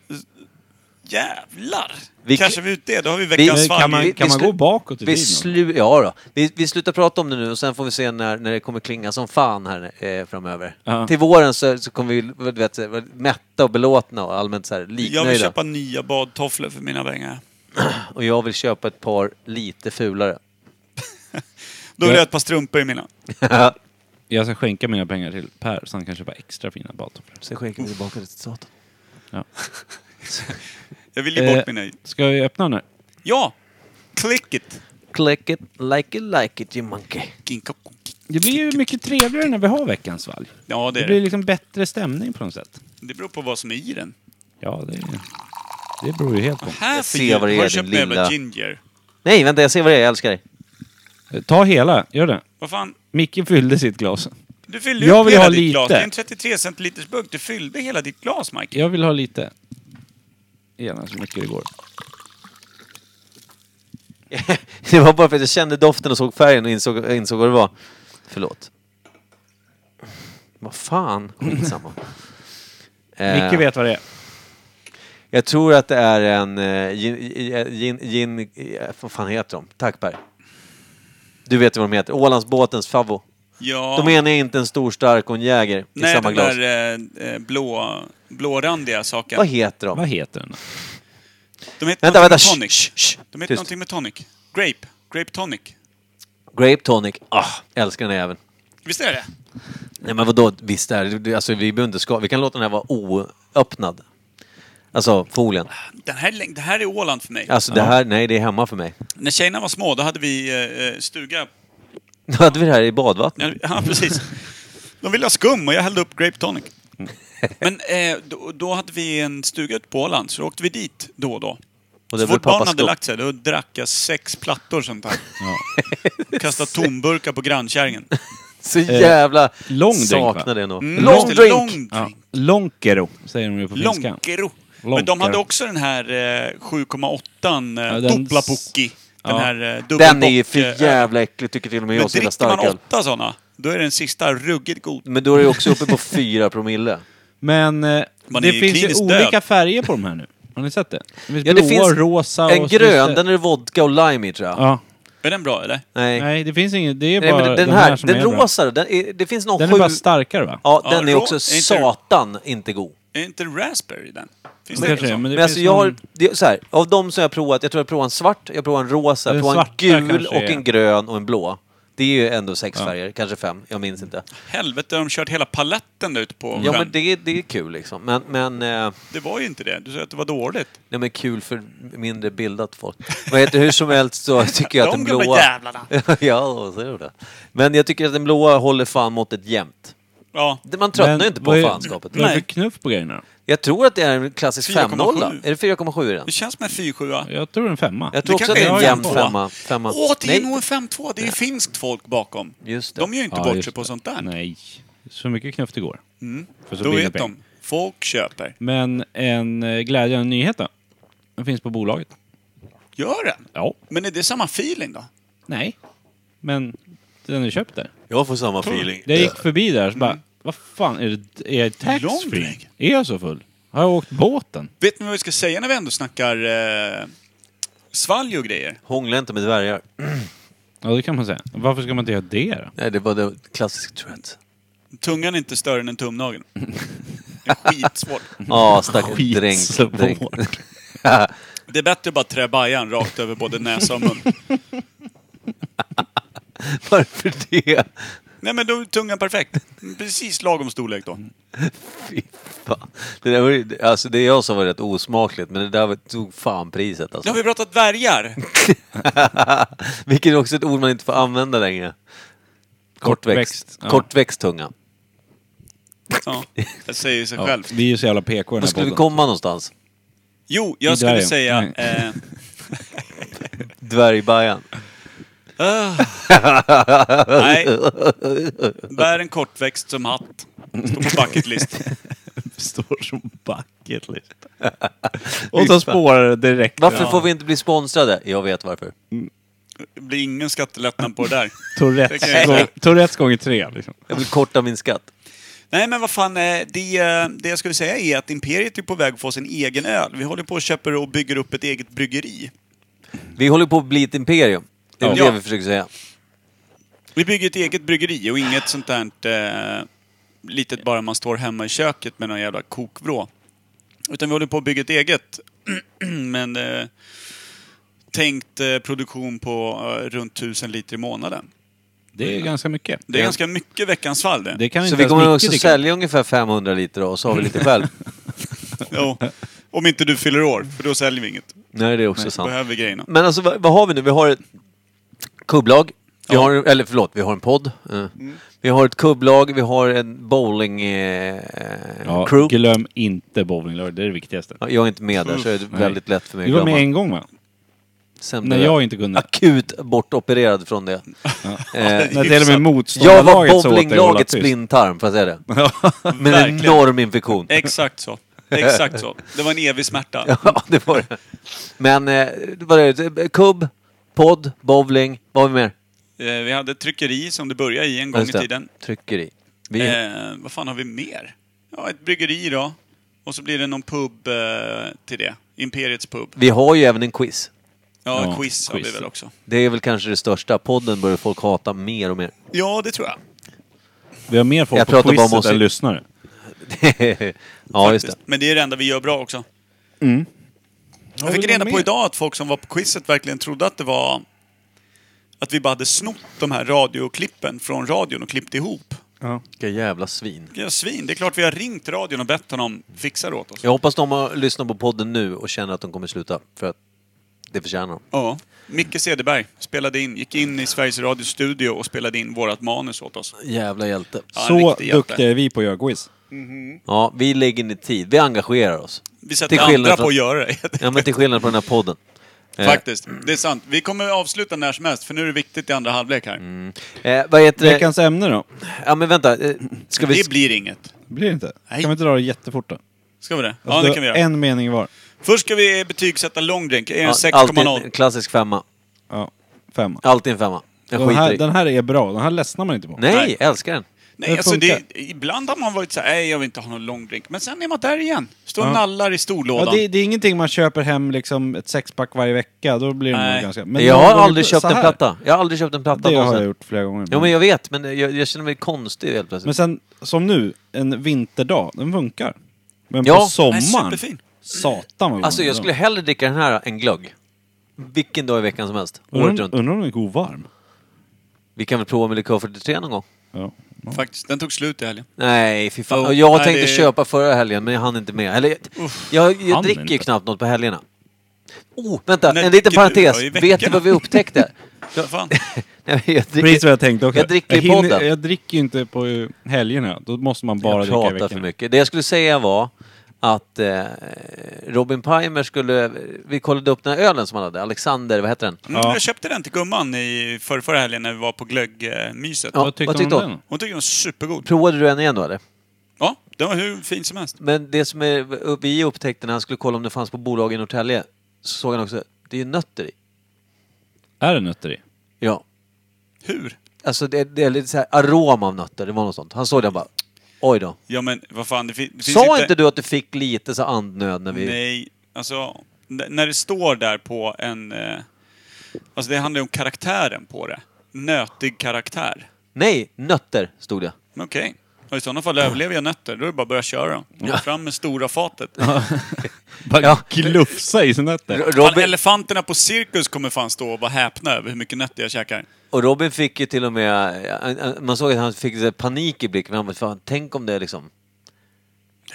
[SPEAKER 1] Jävlar!
[SPEAKER 5] Vi-
[SPEAKER 1] Cashar vi ut det, då har vi veckans
[SPEAKER 5] Vi-
[SPEAKER 1] svalg.
[SPEAKER 2] Kan man,
[SPEAKER 5] vi-
[SPEAKER 2] kan
[SPEAKER 5] vi
[SPEAKER 2] man
[SPEAKER 5] slu-
[SPEAKER 2] gå bakåt i
[SPEAKER 5] Vi,
[SPEAKER 2] tiden?
[SPEAKER 5] slu- ja, då. Vi, vi slutar prata om det nu och sen får vi se när, när det kommer klinga som fan här eh, framöver.
[SPEAKER 2] Ja.
[SPEAKER 5] Till våren så, så kommer vi du vet, så här, vara mätta och belåtna och allmänt så här,
[SPEAKER 1] Jag vill
[SPEAKER 5] liknöjda.
[SPEAKER 1] köpa nya badtofflor för mina pengar.
[SPEAKER 5] Och jag vill köpa ett par lite fulare.
[SPEAKER 1] Då vill
[SPEAKER 2] Ja.
[SPEAKER 1] jag ha ett par strumpor i mina.
[SPEAKER 2] Jag ska skänka mina pengar till Per så han kan köpa extra fina badtofflor.
[SPEAKER 5] Sen skänker vi tillbaka det till staten.
[SPEAKER 1] Jag vill ge bort
[SPEAKER 2] Eh.
[SPEAKER 1] mina.
[SPEAKER 2] Ska vi öppna den här?
[SPEAKER 1] Ja! Click it!
[SPEAKER 5] Click it, like it, like it you monkey.
[SPEAKER 1] Kinkakon.
[SPEAKER 2] Det blir ju mycket trevligare när vi har veckans valg.
[SPEAKER 1] Ja, det
[SPEAKER 2] Det
[SPEAKER 1] är
[SPEAKER 2] blir
[SPEAKER 1] det.
[SPEAKER 2] liksom bättre stämning på något sätt.
[SPEAKER 1] Det beror på vad som är i den.
[SPEAKER 2] Ja, det, det beror ju helt på.
[SPEAKER 1] Här
[SPEAKER 5] Jag
[SPEAKER 1] för
[SPEAKER 5] ser
[SPEAKER 1] jul
[SPEAKER 5] vad det är,
[SPEAKER 1] har jag
[SPEAKER 5] din
[SPEAKER 1] köpt med jävla
[SPEAKER 5] lilla-
[SPEAKER 1] ginger.
[SPEAKER 5] Nej, vänta jag ser vad det är, jag älskar dig.
[SPEAKER 2] Ta hela, gör det.
[SPEAKER 1] Vad fan?
[SPEAKER 2] Micke fyllde sitt glas.
[SPEAKER 1] Du fyllde
[SPEAKER 2] Jag
[SPEAKER 1] upp
[SPEAKER 2] vill
[SPEAKER 1] hela
[SPEAKER 2] ha
[SPEAKER 1] ditt
[SPEAKER 2] lite.
[SPEAKER 1] glas. Det är en 33 centiliters burk. Du fyllde hela ditt glas, Mike.
[SPEAKER 2] Jag vill ha lite. Gärna så mycket det går.
[SPEAKER 5] det var bara för att jag kände doften och såg färgen och insåg, jag insåg vad det var. Förlåt. Vad fan, skitsamma. Eh,
[SPEAKER 2] Micke vet vad det är.
[SPEAKER 5] Jag tror att det är en eh, gin... gin, gin eh, vad fan heter de? Tack Per. Du vet ju vad de heter. Ålandsbåtens favvo.
[SPEAKER 1] Ja.
[SPEAKER 5] De ena är inte en stor stark och en jäger i
[SPEAKER 1] Nej,
[SPEAKER 5] samma
[SPEAKER 1] den
[SPEAKER 5] glas.
[SPEAKER 1] där eh, eh, blå, blårandiga saken.
[SPEAKER 5] Vad heter de?
[SPEAKER 2] Vad heter den?
[SPEAKER 1] De heter
[SPEAKER 5] Vänta,
[SPEAKER 1] någonting
[SPEAKER 5] vänta.
[SPEAKER 1] med
[SPEAKER 5] Shh,
[SPEAKER 1] Tonic.
[SPEAKER 5] shh, shh.
[SPEAKER 1] De heter
[SPEAKER 5] Tyst.
[SPEAKER 1] någonting med tonic. Grape. Grape tonic.
[SPEAKER 5] Grape tonic. Ah, älskar den här jäveln.
[SPEAKER 1] Visst är det?
[SPEAKER 5] Nej men vadå, visst är det- det, alltså, vi behöver inte ska, vi kan låta den här vara oöppnad. Alltså folien.
[SPEAKER 1] Den här, är läng- det här är Åland för mig.
[SPEAKER 5] Alltså det här, nej det är hemma för mig.
[SPEAKER 1] När tjejerna var små, då hade vi eh, eh, stuga...
[SPEAKER 5] Nu hade vi det här i badvattnet.
[SPEAKER 1] Ja, ja, precis. De ville ha skum och jag hällde upp grape tonic.
[SPEAKER 5] Mm.
[SPEAKER 1] Men eh, då, då hade vi en stuga ute på Åland, så då åkte vi dit då och då.
[SPEAKER 5] Och det
[SPEAKER 1] Så
[SPEAKER 5] var
[SPEAKER 1] fort barnen
[SPEAKER 5] pappas
[SPEAKER 1] hade
[SPEAKER 5] skull.
[SPEAKER 1] lagt sig, då drack jag sex plattor sånt här. Kastade tomburkar på grannkärringen.
[SPEAKER 5] Så jävla
[SPEAKER 2] Eh, lång drink, va?
[SPEAKER 5] saknar det nog.
[SPEAKER 1] Mm,
[SPEAKER 5] Lång
[SPEAKER 1] just det,
[SPEAKER 5] drink!
[SPEAKER 1] Lång
[SPEAKER 2] Ja.
[SPEAKER 1] drink.
[SPEAKER 2] Lonkero, säger de ju på finska.
[SPEAKER 1] Lonkero. Men de
[SPEAKER 2] Lonkero.
[SPEAKER 1] hade också den här eh, 7,8 eh,
[SPEAKER 2] Ja, den-
[SPEAKER 1] Doplapukki. Den
[SPEAKER 2] Ja.
[SPEAKER 1] här eh,
[SPEAKER 5] Den är ju
[SPEAKER 1] dubbelbock, eh,
[SPEAKER 5] för jävla äcklig tycker till och med
[SPEAKER 1] Men
[SPEAKER 5] jag, så jävla
[SPEAKER 1] dricker man
[SPEAKER 5] starköl.
[SPEAKER 1] åtta sådana, då är den sista ruggigt god.
[SPEAKER 5] Men då är det också uppe på fyra promille.
[SPEAKER 2] Men eh,
[SPEAKER 1] Man är
[SPEAKER 2] det
[SPEAKER 1] ju
[SPEAKER 2] finns ju
[SPEAKER 1] kliniskt
[SPEAKER 2] olika
[SPEAKER 1] död.
[SPEAKER 2] färger på de här nu. Har ni sett det? Det finns
[SPEAKER 5] Ja,
[SPEAKER 2] blå,
[SPEAKER 5] det finns
[SPEAKER 2] rosa och...
[SPEAKER 5] en
[SPEAKER 2] så finns
[SPEAKER 5] grön,
[SPEAKER 2] det-
[SPEAKER 5] den är det vodka och lime i tror jag.
[SPEAKER 2] Ja.
[SPEAKER 1] Är den bra eller?
[SPEAKER 5] Nej.
[SPEAKER 2] Nej, det finns ingen. Det är
[SPEAKER 5] nej
[SPEAKER 2] bara
[SPEAKER 5] men den,
[SPEAKER 2] de
[SPEAKER 5] här,
[SPEAKER 2] som
[SPEAKER 5] den
[SPEAKER 2] är bra.
[SPEAKER 5] rosa den är, det finns någon
[SPEAKER 2] Den
[SPEAKER 5] sju...
[SPEAKER 2] är bara starkare va?
[SPEAKER 5] Ja,
[SPEAKER 1] Ja,
[SPEAKER 5] den är
[SPEAKER 1] rå-
[SPEAKER 5] också
[SPEAKER 1] är inte-
[SPEAKER 5] satan inte god.
[SPEAKER 1] Är inte raspberry den? Finns
[SPEAKER 2] Det
[SPEAKER 1] det,
[SPEAKER 2] kanske
[SPEAKER 1] det
[SPEAKER 2] är, men
[SPEAKER 1] men...
[SPEAKER 2] det
[SPEAKER 5] Men alltså
[SPEAKER 2] finns
[SPEAKER 5] jag har,
[SPEAKER 2] någon-
[SPEAKER 5] det, så här, av de som jag har provat, jag tror jag provar en svart, jag provar en rosa, jag
[SPEAKER 2] Den
[SPEAKER 5] provar en
[SPEAKER 2] svarta
[SPEAKER 5] gul
[SPEAKER 2] kanske
[SPEAKER 5] och
[SPEAKER 2] är-
[SPEAKER 5] en grön och en blå. Det är ju ändå sex färger, kanske fem, jag minns inte.
[SPEAKER 1] Helvete, har de kört hela paletten där ute på
[SPEAKER 5] Ja
[SPEAKER 1] sjön?
[SPEAKER 5] men det, det är kul liksom. Men, men, eh,
[SPEAKER 1] Det var ju inte det. Du sa att det var dåligt.
[SPEAKER 5] nej, men kul för mindre bildat folk. Men heter, hur som helst så tycker jag att
[SPEAKER 1] De
[SPEAKER 5] den
[SPEAKER 1] gamla
[SPEAKER 5] blåa...
[SPEAKER 1] jävlarna!
[SPEAKER 5] ja, så är det. Men jag tycker att den blåa håller fan måttet jämt.
[SPEAKER 1] Ja.
[SPEAKER 5] Man tröttnar
[SPEAKER 2] Men
[SPEAKER 5] ju inte på
[SPEAKER 2] vad är-
[SPEAKER 5] fanskapet.
[SPEAKER 2] Vad är det
[SPEAKER 1] Nej.
[SPEAKER 2] för knuff på grejerna då?
[SPEAKER 5] Jag tror att det är en klassisk
[SPEAKER 1] 4,7.
[SPEAKER 5] 5-0. Är det 4,7 i den?
[SPEAKER 1] Det känns som en 4-7.
[SPEAKER 2] Jag tror en femma.
[SPEAKER 5] Jag tror
[SPEAKER 1] Det
[SPEAKER 5] också att
[SPEAKER 1] kanske
[SPEAKER 5] det är en
[SPEAKER 1] är en
[SPEAKER 5] jämn
[SPEAKER 1] femma.
[SPEAKER 5] femma. femma.
[SPEAKER 1] Åh, det är
[SPEAKER 5] Nej,
[SPEAKER 1] nog en 5-2. Det är ju finskt folk bakom.
[SPEAKER 5] Just det.
[SPEAKER 1] De gör ju inte
[SPEAKER 2] Ja,
[SPEAKER 1] bort
[SPEAKER 2] just
[SPEAKER 1] sig på
[SPEAKER 2] det.
[SPEAKER 1] sånt där. Mm.
[SPEAKER 2] Nej. Så mycket knuff det går. För så
[SPEAKER 1] Då
[SPEAKER 2] blir det
[SPEAKER 1] vet
[SPEAKER 2] pengar.
[SPEAKER 1] de. Folk köper.
[SPEAKER 2] Men en eh, glädjande nyhet då. Den finns på bolaget.
[SPEAKER 1] Gör den?
[SPEAKER 2] Ja.
[SPEAKER 1] Men är det samma feeling då?
[SPEAKER 2] Nej. Men den är köpt där.
[SPEAKER 5] jag får samma feeling.
[SPEAKER 2] Jag gick förbi där så bara, vad fan, är det, är jag
[SPEAKER 1] Mm. Lång
[SPEAKER 2] taxfree?
[SPEAKER 1] väg.
[SPEAKER 2] Är jag så full?
[SPEAKER 6] Har jag åkt båten?
[SPEAKER 1] Vet ni vad vi ska säga när vi ändå snackar eh, svalg och grejer?
[SPEAKER 5] Hångla inte med dvärgar.
[SPEAKER 6] Ja, det kan man säga. Varför ska man inte göra det då?
[SPEAKER 5] Nej, det var det klassiska Tourette.
[SPEAKER 1] Tungan är inte större än en tumnagel. Det är skitsvårt.
[SPEAKER 5] Ja, stackars dränk.
[SPEAKER 6] Skitsvårt.
[SPEAKER 5] dränk.
[SPEAKER 1] Det är bättre att bara trä bajan rakt över både näsa och mun.
[SPEAKER 5] Varför det?
[SPEAKER 1] Nej men då är tungan perfekt. Precis lagom storlek då.
[SPEAKER 5] Fy fan. Det, där var, ju- alltså det jag sa var rätt osmakligt, men det där var- tog fan priset
[SPEAKER 1] Nu har
[SPEAKER 5] alltså.
[SPEAKER 1] vi pratat dvärgar.
[SPEAKER 5] Vilket är också ett ord man inte får använda längre. Kortväxt.
[SPEAKER 6] Kortväxt, ja.
[SPEAKER 5] Kortväxt tunga.
[SPEAKER 1] Ja, det säger sig
[SPEAKER 6] Ja,
[SPEAKER 1] själv.
[SPEAKER 6] vi är ju så jävla PK i den
[SPEAKER 5] Var
[SPEAKER 6] här
[SPEAKER 5] skulle vi
[SPEAKER 6] podden.
[SPEAKER 5] komma någonstans?
[SPEAKER 1] Jo, jag skulle
[SPEAKER 6] Dvärgen.
[SPEAKER 1] säga...
[SPEAKER 6] Nej.
[SPEAKER 1] Eh,
[SPEAKER 5] Dvärgbajan.
[SPEAKER 1] ah. nej. Bär en kortväxt som hatt. Står på bucket list.
[SPEAKER 6] står som bucket list. Och så spårar det direkt.
[SPEAKER 5] Varför
[SPEAKER 1] Ja.
[SPEAKER 5] får vi inte bli sponsrade? Jag vet varför.
[SPEAKER 1] Det blir ingen skattelättnad på det där. Det kan jag
[SPEAKER 6] Tourettes,
[SPEAKER 1] säga.
[SPEAKER 6] gång, Tourettes gånger tre liksom.
[SPEAKER 5] Jag vill korta min skatt.
[SPEAKER 1] Nej men vad fan, eh, det, eh, det jag skulle säga är att Imperiet är på väg att få sin egen öl. Vi håller på och köper och bygger upp ett eget bryggeri.
[SPEAKER 5] Vi håller på att bli ett imperium. Det är väl
[SPEAKER 1] Ja.
[SPEAKER 5] det vi försöker säga.
[SPEAKER 1] Vi bygger ett eget bryggeri och inget sånt där eh, litet bara man står hemma i köket med någon jävla kokvrå. Utan vi håller på att bygga ett eget. Men eh, tänkt eh, produktion på eh, runt 1000 liter i månaden.
[SPEAKER 6] Det är ganska mycket.
[SPEAKER 1] Det är ganska mycket veckans fall det.
[SPEAKER 6] Det kan
[SPEAKER 5] Så
[SPEAKER 6] inte
[SPEAKER 5] vi
[SPEAKER 6] ens
[SPEAKER 5] kommer
[SPEAKER 6] Micke
[SPEAKER 5] också
[SPEAKER 6] dricka.
[SPEAKER 5] sälja ungefär 500 liter och så har vi lite själv.
[SPEAKER 1] Jo. Om inte du fyller år, för då säljer vi inget.
[SPEAKER 5] Nej, det är också sant.
[SPEAKER 1] Behöver grejerna.
[SPEAKER 5] Men alltså vad, vad har vi nu? Vi har ett kubblag. Vi
[SPEAKER 1] Ja.
[SPEAKER 5] har, eller förlåt, vi har en podd. Eh,
[SPEAKER 6] Mm.
[SPEAKER 5] Vi har ett kubblag, vi har en bowling eh,
[SPEAKER 6] Ja,
[SPEAKER 5] crew.
[SPEAKER 6] glöm inte bowlinglördag, det är det viktigaste.
[SPEAKER 5] Ja, Jag är inte med där så är det
[SPEAKER 6] Nej.
[SPEAKER 5] väldigt lätt för mig
[SPEAKER 6] Du var
[SPEAKER 5] att
[SPEAKER 6] med
[SPEAKER 5] glömma.
[SPEAKER 6] en gång va?
[SPEAKER 5] Sen
[SPEAKER 6] När
[SPEAKER 5] blev
[SPEAKER 6] jag inte kunde.
[SPEAKER 5] Akut bortopererad från det. Eh,
[SPEAKER 6] När till och med
[SPEAKER 5] jag var
[SPEAKER 6] motståndarlaget så åt dig att hålla
[SPEAKER 5] bowlinglagets
[SPEAKER 6] tyst.
[SPEAKER 5] blindtarm, får jag säga det? Med en
[SPEAKER 1] Verkligen.
[SPEAKER 5] enorm infektion.
[SPEAKER 1] Exakt så. Exakt så. Det var en evig smärta.
[SPEAKER 5] Ja, det var det. Men eh, vad är det? Kubb, podd, bowling, vad har vi mer?
[SPEAKER 1] Eh, Vi hade ett tryckeri som det började i en gång i
[SPEAKER 5] Just det.
[SPEAKER 1] tiden.
[SPEAKER 5] Tryckeri. Vi,
[SPEAKER 1] Eh, vad fan har vi mer? Ja, ett bryggeri då. Och så blir det någon pub eh, till det. Imperiets pub.
[SPEAKER 5] vi har ju även en quiz.
[SPEAKER 1] Ja,
[SPEAKER 6] Ja,
[SPEAKER 1] quiz har vi
[SPEAKER 6] quiz.
[SPEAKER 1] väl också.
[SPEAKER 5] Det är väl kanske det största. Podden börjar folk hata mer och mer.
[SPEAKER 1] Ja, det tror jag.
[SPEAKER 6] Vi har mer folk
[SPEAKER 5] Jag
[SPEAKER 6] på
[SPEAKER 5] pratar bara
[SPEAKER 6] quizet
[SPEAKER 5] om oss.
[SPEAKER 6] än lyssnare.
[SPEAKER 5] ja, just det. Mm.
[SPEAKER 1] faktiskt. Men det är det enda vi gör bra också. Jag fick
[SPEAKER 6] vill du ha
[SPEAKER 1] reda på
[SPEAKER 6] mer?
[SPEAKER 1] idag att folk som var på quizet verkligen trodde att det var... Att vi bara hade snott de här radioklippen från radion och klippt ihop.
[SPEAKER 5] Vilka jävla svin.
[SPEAKER 1] Vilka svin. Det är klart vi har ringt radion och bett honom fixa det åt oss.
[SPEAKER 5] Jag hoppas de har lyssnat på podden nu och känner att de kommer sluta. För att det förtjänar de.
[SPEAKER 1] Ja. Micke Cederberg spelade in, gick in i Sveriges Radios studio och spelade in vårat manus åt oss.
[SPEAKER 5] Jävla hjälte.
[SPEAKER 1] Ja, en
[SPEAKER 2] Så
[SPEAKER 1] riktig hjälte.
[SPEAKER 2] duktiga är vi på att göra quiz.
[SPEAKER 5] Ja, vi lägger ner tid. Vi engagerar oss.
[SPEAKER 1] Vi sätter
[SPEAKER 5] Till skillnad
[SPEAKER 1] andra
[SPEAKER 5] från-
[SPEAKER 1] på att göra det.
[SPEAKER 5] Ja, men till skillnad från den här podden. Eh,
[SPEAKER 1] Faktiskt. Det är sant. Vi kommer avsluta när som helst, för nu är det viktigt i andra halvlek här.
[SPEAKER 5] Eh, vad heter det?
[SPEAKER 2] Veckans ämne då?
[SPEAKER 5] Ja, men vänta. eh, Ska vi...
[SPEAKER 1] Det blir inget.
[SPEAKER 2] Blir det inte?
[SPEAKER 1] Nej.
[SPEAKER 2] Kan vi inte dra det jättefort då?
[SPEAKER 1] Ska vi det? ja,
[SPEAKER 2] Alltså,
[SPEAKER 1] det kan vi göra.
[SPEAKER 2] En mening var.
[SPEAKER 1] Först ska vi betygsätta långdrink. Är det en
[SPEAKER 5] Ja, alltid en
[SPEAKER 1] 6,0?
[SPEAKER 5] klassisk femma.
[SPEAKER 2] Ja, femma.
[SPEAKER 5] Alltid en femma. Jag
[SPEAKER 2] Den här,
[SPEAKER 5] skiter i.
[SPEAKER 2] den här är bra, den här ledsnar man inte på.
[SPEAKER 5] Nej, jag älskar den.
[SPEAKER 1] Nej,
[SPEAKER 2] den
[SPEAKER 1] alltså det,
[SPEAKER 2] funkar.
[SPEAKER 1] ibland har man varit så här, nej jag vill inte ha någon långdrink. Men sen är man där igen. Står och nallar i storlådan.
[SPEAKER 2] Ja, det, det är ingenting man köper hem liksom ett sexpack varje vecka, då blir det
[SPEAKER 1] Nej.
[SPEAKER 2] nog ganska...
[SPEAKER 5] jag
[SPEAKER 2] någon
[SPEAKER 5] har
[SPEAKER 2] gång
[SPEAKER 5] aldrig
[SPEAKER 2] så
[SPEAKER 5] köpt en
[SPEAKER 2] här,
[SPEAKER 5] platta. Jag har aldrig köpt en platta
[SPEAKER 2] Det har jag
[SPEAKER 5] någonsin.
[SPEAKER 2] gjort flera gånger.
[SPEAKER 5] Ja, men jag vet, men jag, jag känner mig konstig helt plötsligt.
[SPEAKER 2] Men sen, som nu, en vinterdag, den funkar. Men
[SPEAKER 5] Ja,
[SPEAKER 2] på
[SPEAKER 1] Nej,
[SPEAKER 2] sommaren,
[SPEAKER 1] superfin.
[SPEAKER 2] satan vad
[SPEAKER 5] Alltså,
[SPEAKER 2] god
[SPEAKER 5] jag
[SPEAKER 2] den
[SPEAKER 5] skulle
[SPEAKER 2] är.
[SPEAKER 5] hellre dricka den här än glögg. Vilken dag i veckan som helst. Året
[SPEAKER 2] Undrar
[SPEAKER 5] runt.
[SPEAKER 2] undrar om den är god varm?
[SPEAKER 5] Vi kan väl prova med likör 43 någon gång?
[SPEAKER 2] Ja.
[SPEAKER 1] Faktiskt. Den tog slut i helgen.
[SPEAKER 5] Nej, fy fan.
[SPEAKER 1] Jo,
[SPEAKER 5] Och jag
[SPEAKER 1] nej,
[SPEAKER 5] tänkte
[SPEAKER 1] det-
[SPEAKER 5] köpa förra helgen, men jag hann inte med. Eller, jag jag
[SPEAKER 2] hann
[SPEAKER 5] dricker ju
[SPEAKER 2] inte.
[SPEAKER 5] knappt något på helgerna. Oh, vänta,
[SPEAKER 1] När
[SPEAKER 5] en liten
[SPEAKER 1] dricker du då?
[SPEAKER 5] parentes.
[SPEAKER 1] I
[SPEAKER 5] Vet du
[SPEAKER 1] veckorna?
[SPEAKER 5] vad vi upptäckte?
[SPEAKER 1] Vad fan?
[SPEAKER 5] Nej, men jag dricker...
[SPEAKER 2] Precis vad jag tänkte också.
[SPEAKER 5] Jag dricker i
[SPEAKER 2] hinner-
[SPEAKER 5] podden.
[SPEAKER 2] Jag dricker ju inte på eh, helgerna, då måste man bara
[SPEAKER 5] jag
[SPEAKER 2] dricka i
[SPEAKER 5] pratar
[SPEAKER 2] veckan.
[SPEAKER 5] för mycket. Det jag skulle säga var att eh, Robin Pimer skulle... Vi kollade upp den här ölen som han hade. Alexander, vad heter den?
[SPEAKER 1] Mm, Jag köpte den till gumman i förra, förra helgen när vi var på glöggmyset.
[SPEAKER 5] Ja,
[SPEAKER 6] Vad tyckte
[SPEAKER 5] vad
[SPEAKER 6] du om
[SPEAKER 5] tyckte
[SPEAKER 6] den?
[SPEAKER 5] hon?
[SPEAKER 1] Hon tyckte den var supergod.
[SPEAKER 5] Provade du den igen då eller?
[SPEAKER 1] Ja, den var hur fin som helst.
[SPEAKER 5] Men det som är, vi upptäckte när han skulle kolla om det fanns på bolag i Norrtälje, så såg han också det är ju nötter i.
[SPEAKER 6] Är det nötter i?
[SPEAKER 5] Ja.
[SPEAKER 1] Hur?
[SPEAKER 5] Alltså det, det är lite så här arom av nötter, det var något sånt. Han såg den bara... Oj då.
[SPEAKER 1] Ja men vad fan, det, fin- det finns
[SPEAKER 5] Sa inte du att du fick lite så andnöd när vi...
[SPEAKER 1] Nej, alltså n- när det står där på en... Eh, alltså det handlar ju om karaktären på det. Nötig karaktär.
[SPEAKER 5] Nej, nötter stod det.
[SPEAKER 1] Men okej. Och i sådana fall överlever jag nötter, då är det bara att börja köra dem.
[SPEAKER 5] Ja.
[SPEAKER 1] Fram med stora fatet.
[SPEAKER 6] Bara
[SPEAKER 5] Ja.
[SPEAKER 6] glufsa i sin nötter.
[SPEAKER 1] Fan,
[SPEAKER 5] Robin,
[SPEAKER 1] elefanterna på cirkus kommer fan stå och vara häpna över hur mycket nötter jag käkar.
[SPEAKER 5] och Robin fick ju till och med... eh, Man såg att han fick lite panik i blicken. Han bara, fan, tänk om det liksom...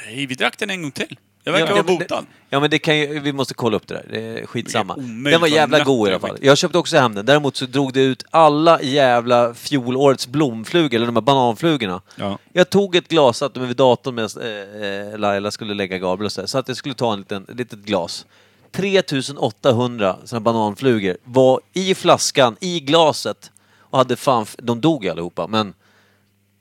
[SPEAKER 1] Nej, vi drack den en gång till. Jag verkar
[SPEAKER 5] men
[SPEAKER 1] vara
[SPEAKER 5] det-
[SPEAKER 1] botad.
[SPEAKER 5] Ja men det kan ju, vi måste kolla upp det där. Det är skitsamma.
[SPEAKER 1] Det är omöjligt
[SPEAKER 5] Den var
[SPEAKER 1] vad
[SPEAKER 5] jävla
[SPEAKER 1] nötter
[SPEAKER 5] god i alla
[SPEAKER 1] jag
[SPEAKER 5] fall.
[SPEAKER 1] fick.
[SPEAKER 5] Jag köpte också hem den. Däremot så drog det ut alla jävla fjolårets blomflugor, eller de här bananflugorna.
[SPEAKER 6] Ja.
[SPEAKER 5] Jag tog ett glas, satte mig vid datorn medan eh, eh, Laila skulle lägga Gabriel och så, där. så att jag skulle ta en liten, ett litet glas. 3800 såna bananflugor var i flaskan, i glaset. Och hade fan, f- de dog allihopa men...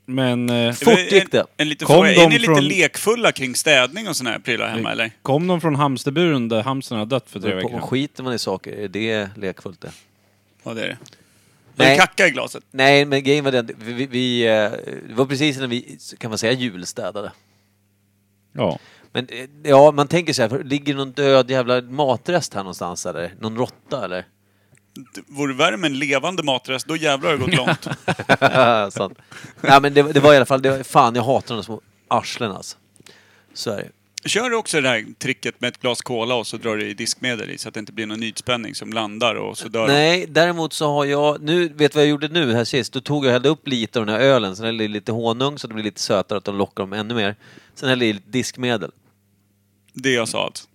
[SPEAKER 2] Men... Eh,
[SPEAKER 5] Fort gick det.
[SPEAKER 1] En, en liten
[SPEAKER 2] Kom
[SPEAKER 1] fråga. Är
[SPEAKER 2] de
[SPEAKER 1] ni lite
[SPEAKER 2] från-
[SPEAKER 1] lekfulla kring städning och såna här prylar hemma eller?
[SPEAKER 2] kom de från hamsterburen där hamstern har dött för tre veckor
[SPEAKER 5] På,
[SPEAKER 2] sedan?
[SPEAKER 5] skiter man i saker, är det lekfullt det?
[SPEAKER 1] Ja, det är det. Var
[SPEAKER 5] Nej.
[SPEAKER 1] det kacka i glaset?
[SPEAKER 5] Nej, men grejen var den, vi, vi, vi, eh, det var precis när vi, kan man säga, julstädade.
[SPEAKER 2] Ja.
[SPEAKER 5] Men eh, ja, man tänker så här, ligger någon död jävla matrest här någonstans eller? Någon råtta eller?
[SPEAKER 1] Det Vore det värre med en levande matrest, då jävlar har det gått långt.
[SPEAKER 5] så, nej men det, det var i alla fall, det var, fan jag hatar de små arslen alltså. Så är det.
[SPEAKER 1] Kör du också det här tricket med ett glas cola och så drar du i diskmedel i så att det inte blir någon ytspänning som landar och så dör de.
[SPEAKER 5] Nej, däremot så har jag, nu, vet du vad jag gjorde nu här sist? Då tog jag och hällde upp lite av den här ölen, sen hällde jag i lite honung så det blir lite sötare, att de lockar dem ännu mer. Sen hällde jag i lite diskmedel.
[SPEAKER 1] Det jag sa alltså.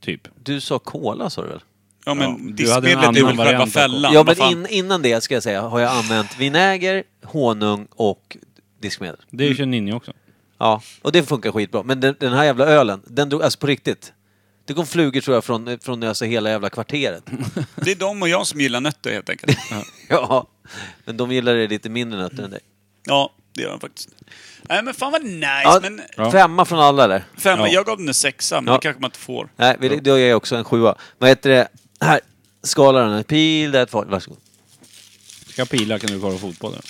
[SPEAKER 2] Typ.
[SPEAKER 5] Du sa cola sa du väl?
[SPEAKER 1] Ja men
[SPEAKER 2] Ja, men du hade en
[SPEAKER 1] diskmedlet är väl
[SPEAKER 2] annan
[SPEAKER 1] själva
[SPEAKER 2] variant av-
[SPEAKER 1] fällan?
[SPEAKER 5] Ja,
[SPEAKER 1] vad
[SPEAKER 5] men
[SPEAKER 1] fan?
[SPEAKER 5] in, innan det ska jag säga har jag använt vinäger, honung och diskmedel.
[SPEAKER 2] Det är ju ninja också.
[SPEAKER 5] Ja, och det funkar skitbra. Men den, den här jävla ölen, den drog, alltså på riktigt. Det kom flugor tror jag från, från alltså hela jävla kvarteret.
[SPEAKER 1] Det är de och jag som gillar nötter helt enkelt.
[SPEAKER 5] ja, men de gillar det lite mindre nötter än dig.
[SPEAKER 1] ja, det gör de faktiskt. Nej men fan vad nice!
[SPEAKER 5] Ja,
[SPEAKER 1] men
[SPEAKER 5] Femma från alla eller?
[SPEAKER 1] femma,
[SPEAKER 2] Ja.
[SPEAKER 1] jag gav den en sexa, men
[SPEAKER 5] Ja.
[SPEAKER 1] det kanske man inte får.
[SPEAKER 5] Nej, vi- då ger jag också en sjua. Vad heter det? Här, skalar den. Peel that far. Varsågod.
[SPEAKER 2] Ska pila kan du kolla fotboll där.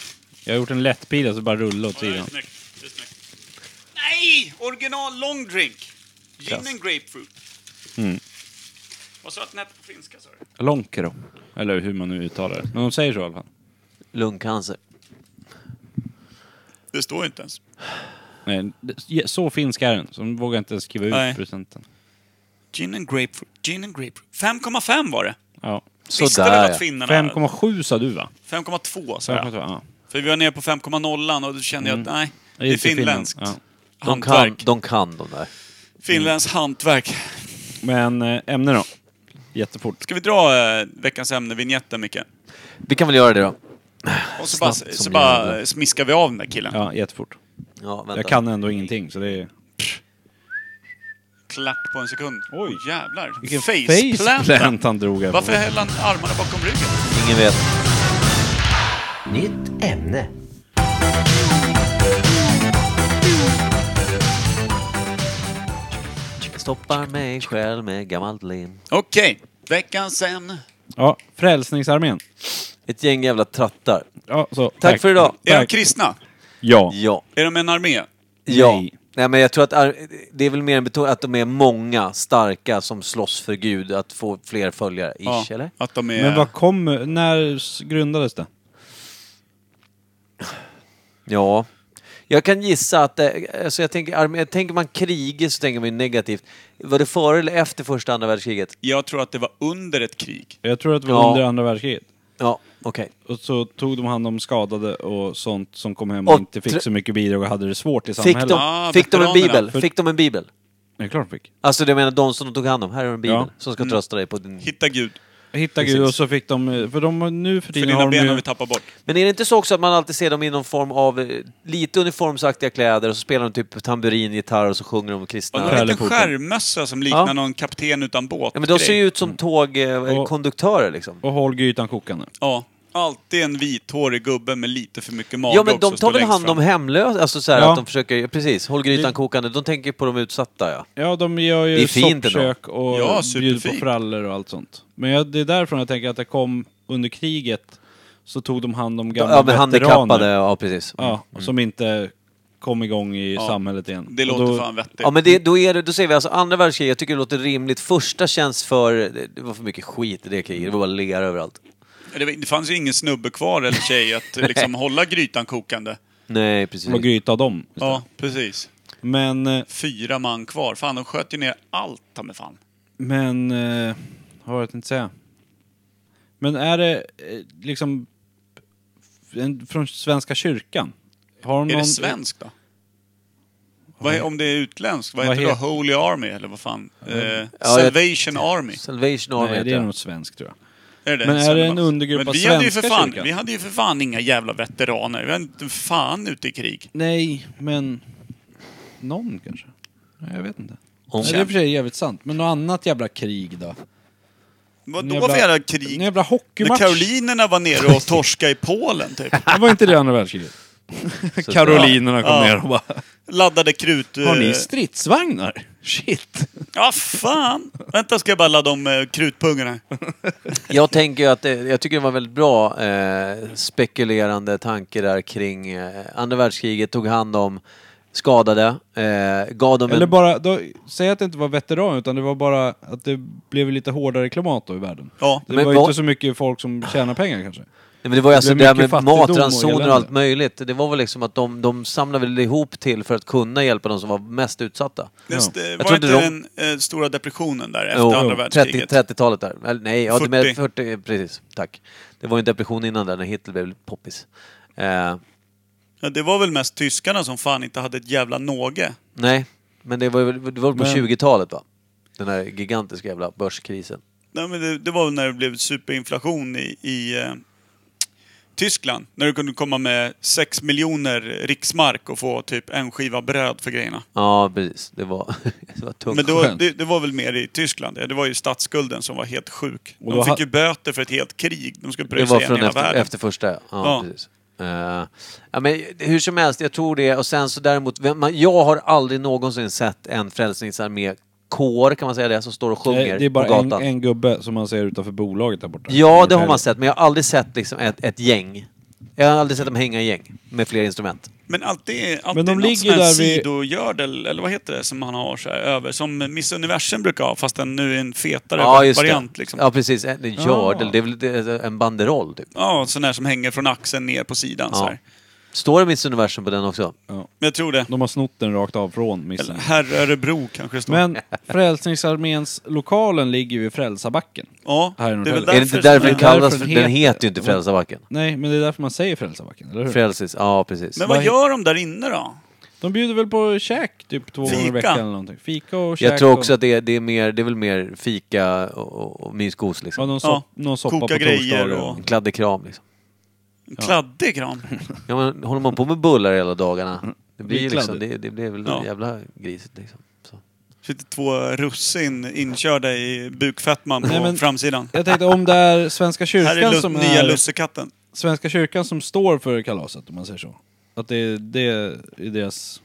[SPEAKER 2] Jag har gjort en lätt pila så bara rulla åt sidan.
[SPEAKER 1] Nej! Original long drink! Gin
[SPEAKER 5] Klass.
[SPEAKER 1] and grapefruit.
[SPEAKER 2] Mm.
[SPEAKER 1] Vad sa att den hette på finska sa du?
[SPEAKER 2] Lonkero. Eller hur man nu uttalar det. Men de säger så i alla fall.
[SPEAKER 5] Lungcancer.
[SPEAKER 1] Det står ju inte ens.
[SPEAKER 2] Nej, det- så finsk är den. Så de vågar inte ens skriva ut
[SPEAKER 1] Nej.
[SPEAKER 2] procenten.
[SPEAKER 1] Gin and grapefruit. Gin and grapefruit. 5,5 var det.
[SPEAKER 2] Ja.
[SPEAKER 1] Visste
[SPEAKER 5] Sådär,
[SPEAKER 1] väl
[SPEAKER 5] ja.
[SPEAKER 1] att finnarna...
[SPEAKER 2] 5,7 sa du va?
[SPEAKER 1] 5,2 sa jag.
[SPEAKER 2] 5,2, ja.
[SPEAKER 1] För vi var nere på 5,0 och då kände jag
[SPEAKER 2] Mm.
[SPEAKER 1] att nej, det är
[SPEAKER 2] inte Finland.
[SPEAKER 1] finländskt.
[SPEAKER 2] Ja.
[SPEAKER 5] De kan,
[SPEAKER 1] Hantverk.
[SPEAKER 5] de mm. kan de där.
[SPEAKER 1] Finländskt hantverk.
[SPEAKER 2] Men eh, ämne då? Jättefort.
[SPEAKER 1] Ska vi dra eh, veckans ämne, vignetten Micke?
[SPEAKER 5] Vi kan väl göra det då.
[SPEAKER 1] Och så bara,
[SPEAKER 5] Snabbt som
[SPEAKER 1] så bara
[SPEAKER 5] jävla.
[SPEAKER 1] smiskar vi av den där killen.
[SPEAKER 2] Ja, jättefort.
[SPEAKER 5] Ja, vänta.
[SPEAKER 2] Jag kan ändå ingenting så det är...
[SPEAKER 1] Klack på en sekund.
[SPEAKER 2] Oj.
[SPEAKER 1] Jävlar.
[SPEAKER 2] Vilken
[SPEAKER 1] Faceplant.
[SPEAKER 2] faceplant han drog här.
[SPEAKER 1] Varför höll han armarna bakom ryggen?
[SPEAKER 5] Ingen vet.
[SPEAKER 7] Nytt ämne.
[SPEAKER 5] Stoppar mig själv med gammalt lim.
[SPEAKER 1] Okej, veckans ämne.
[SPEAKER 2] Ja, Frälsningsarmén.
[SPEAKER 5] Ett gäng jävla trattar.
[SPEAKER 2] Ja, så. Tack,
[SPEAKER 5] för idag.
[SPEAKER 1] Är de
[SPEAKER 2] Tack.
[SPEAKER 1] kristna?
[SPEAKER 2] Ja.
[SPEAKER 5] Ja.
[SPEAKER 1] Är de en armé?
[SPEAKER 5] Ja.
[SPEAKER 2] Nej.
[SPEAKER 5] Nej. men jag tror att ar- det är väl mer en betoning att de är många starka som slåss för Gud att få fler följare. Ish,
[SPEAKER 1] Ja,
[SPEAKER 5] eller?
[SPEAKER 1] Att de är...
[SPEAKER 2] Men vad kom... När s- grundades det?
[SPEAKER 5] Ja. Jag kan gissa att, eh, alltså jag tänker, armé- tänker man kriget så tänker man ju negativt. Var det före eller efter första andra världskriget?
[SPEAKER 1] Jag tror att det var under ett krig.
[SPEAKER 2] Jag tror att det var
[SPEAKER 5] Ja.
[SPEAKER 2] under andra världskriget.
[SPEAKER 5] Ja, okej.
[SPEAKER 2] Och så tog de hand om skadade och sånt som kom hem
[SPEAKER 5] Och
[SPEAKER 2] och inte
[SPEAKER 5] tre-
[SPEAKER 2] fick så mycket bidrag och hade det svårt i
[SPEAKER 5] Fick,
[SPEAKER 2] samhället.
[SPEAKER 5] de,
[SPEAKER 1] Ah,
[SPEAKER 5] fick de en
[SPEAKER 1] veteranerna.
[SPEAKER 5] bibel?
[SPEAKER 2] För-
[SPEAKER 5] Fick de en bibel?
[SPEAKER 2] Det är klart de fick.
[SPEAKER 5] Alltså jag menar de som de tog hand om. Här har du en bibel
[SPEAKER 2] Ja. Mm.
[SPEAKER 5] som ska trösta dig på din...
[SPEAKER 1] Hitta Gud.
[SPEAKER 2] Hitta Gud
[SPEAKER 5] Precis.
[SPEAKER 2] och så fick de... eh, För de har- nu för
[SPEAKER 1] För
[SPEAKER 2] tiden
[SPEAKER 1] dina
[SPEAKER 2] har de
[SPEAKER 1] ben har
[SPEAKER 2] ju...
[SPEAKER 1] vi tappat bort.
[SPEAKER 5] Men är det inte så också att man alltid ser dem i någon form av eh, lite uniformsaktiga kläder och så spelar de typ tamburin, gitarr och så sjunger de om
[SPEAKER 1] Och
[SPEAKER 5] kristna...
[SPEAKER 1] de har en liten
[SPEAKER 2] Pärleporten.
[SPEAKER 1] skärmmössa som liknar
[SPEAKER 5] Ja.
[SPEAKER 1] någon kapten utan båt.
[SPEAKER 5] Ja, men de ser ju ut
[SPEAKER 1] Mm.
[SPEAKER 5] som
[SPEAKER 2] Och-
[SPEAKER 5] tågkonduktörer liksom.
[SPEAKER 2] Och håll grytan kokande.
[SPEAKER 1] Ja. Alltid en vithårig gubbe med lite för mycket mage
[SPEAKER 5] Ja men
[SPEAKER 1] också
[SPEAKER 5] de tar
[SPEAKER 1] står
[SPEAKER 5] väl
[SPEAKER 1] längst
[SPEAKER 5] hand om
[SPEAKER 1] fram.
[SPEAKER 5] hemlösa, alltså så här
[SPEAKER 2] Ja.
[SPEAKER 5] att de försöker, precis, håll grytan
[SPEAKER 2] Det-
[SPEAKER 5] kokande. De tänker på de utsatta ja.
[SPEAKER 2] Ja, de gör
[SPEAKER 5] Det är
[SPEAKER 2] ju
[SPEAKER 5] fint ändå.
[SPEAKER 2] soppkök
[SPEAKER 1] Ja,
[SPEAKER 2] och bjuder på
[SPEAKER 1] superfint.
[SPEAKER 2] frallor och allt sånt. Men jag, det är därifrån jag tänker att det kom under kriget så tog de hand om gamla
[SPEAKER 5] Ja men Mm.
[SPEAKER 2] veteraner.
[SPEAKER 5] handikappade, ja precis.
[SPEAKER 2] Ja, som inte kom igång i
[SPEAKER 1] Ja.
[SPEAKER 2] samhället igen.
[SPEAKER 1] Det
[SPEAKER 2] Och
[SPEAKER 1] låter
[SPEAKER 2] då,
[SPEAKER 1] fan vettigt.
[SPEAKER 5] Ja, men det, då, är det, då säger vi alltså andra världskriget, jag tycker det låter rimligt. Första känns för... det- Det var för mycket skit i det kriget, det var bara lera överallt.
[SPEAKER 1] det, var- det fanns ju ingen snubbe kvar eller tjej att liksom hålla grytan kokande.
[SPEAKER 5] Nej, precis.
[SPEAKER 2] Och gryta av dem.
[SPEAKER 1] Ja, precis.
[SPEAKER 2] Men, eh,
[SPEAKER 1] Fyra man kvar. Fan, de sköt ju ner allt, ta mig fan.
[SPEAKER 2] men... eh, Vad var det jag tänkte säga? Men är det eh, liksom... en- Från Svenska kyrkan? Har de
[SPEAKER 1] Är
[SPEAKER 2] någon,
[SPEAKER 1] det svenskt då? Vad, är- om det är utländskt, vad
[SPEAKER 2] Vad
[SPEAKER 1] heter det
[SPEAKER 2] heter-
[SPEAKER 1] då? Holy Army eller vad fan? Eh,
[SPEAKER 5] jag-
[SPEAKER 1] Salvation Army?
[SPEAKER 5] Salvation Army
[SPEAKER 2] Nej,
[SPEAKER 5] heter
[SPEAKER 2] det är
[SPEAKER 5] jag.
[SPEAKER 2] nog svenskt tror jag.
[SPEAKER 1] Är det
[SPEAKER 2] Men är det en
[SPEAKER 1] Svennebass?
[SPEAKER 2] undergrupp
[SPEAKER 1] Men
[SPEAKER 2] av
[SPEAKER 1] vi hade ju för
[SPEAKER 2] svenska
[SPEAKER 1] fan,
[SPEAKER 2] kyrkan?
[SPEAKER 1] Vi hade ju för fan inga jävla veteraner. Vi hade inte fan ute i krig.
[SPEAKER 2] Nej, men... Någon kanske? Nej, jag vet inte.
[SPEAKER 5] Om-
[SPEAKER 2] Nej, det är i och för sig jävligt sant. Men något annat jävla krig då?
[SPEAKER 1] Vadå
[SPEAKER 2] En jävla-
[SPEAKER 1] för jävla
[SPEAKER 2] En
[SPEAKER 1] krig?
[SPEAKER 2] jävla
[SPEAKER 1] När
[SPEAKER 2] hockeymatch?
[SPEAKER 1] karolinerna var nere och torska i Polen typ.
[SPEAKER 2] Det var inte det andra världskriget. Karolinerna kom
[SPEAKER 1] Ja.
[SPEAKER 2] ner och bara...
[SPEAKER 1] Laddade krut... eh,
[SPEAKER 2] Har ni stridsvagnar? Shit!
[SPEAKER 1] Ja, fan! Vänta ska jag bara ladda om eh, krutpungarna.
[SPEAKER 5] Jag tänker ju att det, jag tycker det var en väldigt bra eh, spekulerande tanke där kring eh, andra världskriget, tog hand om skadade, eh, gav dem
[SPEAKER 2] Eller
[SPEAKER 5] en...
[SPEAKER 2] bara, då, säg att det inte var veteran utan det var bara att det blev lite hårdare klimat då i världen.
[SPEAKER 1] Ja.
[SPEAKER 2] Det
[SPEAKER 5] Men
[SPEAKER 2] var
[SPEAKER 5] vad-
[SPEAKER 2] ju inte så mycket folk som tjänar pengar kanske.
[SPEAKER 5] Nej, men det var ju alltså
[SPEAKER 2] blev
[SPEAKER 5] det här
[SPEAKER 2] mycket
[SPEAKER 5] med
[SPEAKER 2] fattigdom och
[SPEAKER 5] matransoner och
[SPEAKER 2] elände.
[SPEAKER 5] allt möjligt. Det var väl liksom att de, de samlade väl ihop till för att kunna hjälpa de som var mest utsatta.
[SPEAKER 1] Det st-
[SPEAKER 5] Jag
[SPEAKER 1] Var
[SPEAKER 5] tror
[SPEAKER 1] inte
[SPEAKER 5] inte
[SPEAKER 1] den eh, stora depressionen där efter
[SPEAKER 5] Jo,
[SPEAKER 1] andra
[SPEAKER 5] jo,
[SPEAKER 1] världskriget?
[SPEAKER 5] 30, 30-talet där. Eller, nej, ja, 40.
[SPEAKER 1] 40.
[SPEAKER 5] Med 40. Precis, tack. Det var ju en depression innan där när Hitler blev poppis. Eh,
[SPEAKER 1] Ja, det var väl mest tyskarna som fan inte hade ett jävla någe.
[SPEAKER 5] nej, men det var ju det var väl på
[SPEAKER 2] Men-
[SPEAKER 5] 20-talet va? Den här gigantiska jävla börskrisen.
[SPEAKER 1] Nej, men det, det var väl när det blev superinflation i, i eh, Tyskland. När du kunde komma med 6 miljoner riksmark och få typ en skiva bröd för grejerna.
[SPEAKER 5] Ja, precis. Det var, det var tungt.
[SPEAKER 1] Men då,
[SPEAKER 2] skönt.
[SPEAKER 1] det, det var väl mer i Tyskland. ja. Det var ju statsskulden som var helt sjuk.
[SPEAKER 2] Och då
[SPEAKER 1] De fick
[SPEAKER 2] ha-
[SPEAKER 1] ju böter för ett helt krig. De skulle
[SPEAKER 5] det
[SPEAKER 1] pröjsa
[SPEAKER 5] var
[SPEAKER 1] igen
[SPEAKER 5] från
[SPEAKER 1] hela
[SPEAKER 5] efter,
[SPEAKER 1] världen.
[SPEAKER 5] efter första, ja.
[SPEAKER 1] Ja.
[SPEAKER 5] Precis. Eh, ja, men hur som helst, jag tror det. Och sen så däremot, vem- man, jag har aldrig någonsin sett en frälsningsarmé kår, kan man säga det, som står och sjunger
[SPEAKER 2] Nej, Eh, det är bara
[SPEAKER 5] på
[SPEAKER 2] en,
[SPEAKER 5] gatan.
[SPEAKER 2] en gubbe som man ser utanför bolaget där borta.
[SPEAKER 5] Ja, det har man sett, men jag har aldrig sett liksom ett, ett gäng. Jag har aldrig sett dem hänga i gäng med fler instrument.
[SPEAKER 1] Men alltid, alltid
[SPEAKER 2] Men de
[SPEAKER 1] något
[SPEAKER 2] ligger
[SPEAKER 1] sån här
[SPEAKER 2] där vid-
[SPEAKER 1] sidogördel, eller vad heter det, som man har så här över. Som Miss Universum brukar ha, fast den nu är en fetare variant.
[SPEAKER 5] det.
[SPEAKER 1] Liksom.
[SPEAKER 5] Ja, precis. En en gördel. Det är väl det är en banderoll, typ.
[SPEAKER 1] Ja, sån här som hänger från axeln ner på sidan så
[SPEAKER 5] Ja.
[SPEAKER 1] här.
[SPEAKER 5] Står det Miss Universum på den också?
[SPEAKER 1] Men jag tror det.
[SPEAKER 2] De har snott den rakt av från
[SPEAKER 1] Eller
[SPEAKER 2] missen.
[SPEAKER 1] Herr Örebro kanske det står.
[SPEAKER 2] Men Frälsningsarméns lokalen ligger ju vid Frälsarbacken.
[SPEAKER 1] ja,
[SPEAKER 2] här är nog
[SPEAKER 1] det är väl
[SPEAKER 2] heller.
[SPEAKER 5] är det
[SPEAKER 1] därför som-
[SPEAKER 5] inte därför den
[SPEAKER 2] det är
[SPEAKER 5] kallas...
[SPEAKER 2] därför
[SPEAKER 5] Den
[SPEAKER 2] den
[SPEAKER 5] heter,
[SPEAKER 2] heter-
[SPEAKER 5] ju inte Frälsarbacken.
[SPEAKER 2] Nej, men det är därför man säger Frälsarbacken, eller hur?
[SPEAKER 5] Frälsis, ja precis.
[SPEAKER 1] Mm. Men
[SPEAKER 5] Vad
[SPEAKER 1] vad gör de där inne då?
[SPEAKER 2] De bjuder väl på käk typ två gånger i
[SPEAKER 1] Fika.
[SPEAKER 2] veckan eller någonting. Fika och käk
[SPEAKER 5] Jag tror också
[SPEAKER 2] och,
[SPEAKER 5] att det är, det är mer, det är väl mer fika och, och mysgos
[SPEAKER 2] ja,
[SPEAKER 5] liksom.
[SPEAKER 2] någon,
[SPEAKER 1] Ja,
[SPEAKER 2] sopp, någon soppa
[SPEAKER 1] koka
[SPEAKER 2] på
[SPEAKER 1] grejer
[SPEAKER 2] torsdagar.
[SPEAKER 1] och-
[SPEAKER 5] En kladdig kram liksom.
[SPEAKER 1] En Kladdig kram.
[SPEAKER 5] Ja, men, håller man på med bullar hela
[SPEAKER 1] Mm.
[SPEAKER 5] dagarna, det blir ju
[SPEAKER 2] Blir
[SPEAKER 5] liksom,
[SPEAKER 2] kladdigt.
[SPEAKER 5] det, det blir väl
[SPEAKER 1] Ja.
[SPEAKER 5] jävla grisigt liksom. Så.
[SPEAKER 1] Sitter två russin inkörda i bukfettman på
[SPEAKER 2] Nej, men-
[SPEAKER 1] framsidan.
[SPEAKER 2] Jag tänkte om det är Svenska
[SPEAKER 1] Här är
[SPEAKER 2] kyrkan
[SPEAKER 1] Lu-
[SPEAKER 2] som
[SPEAKER 1] nya
[SPEAKER 2] är...
[SPEAKER 1] lussekatten.
[SPEAKER 2] Svenska kyrkan som står för kalaset, om man säger så. Att det är, det är deras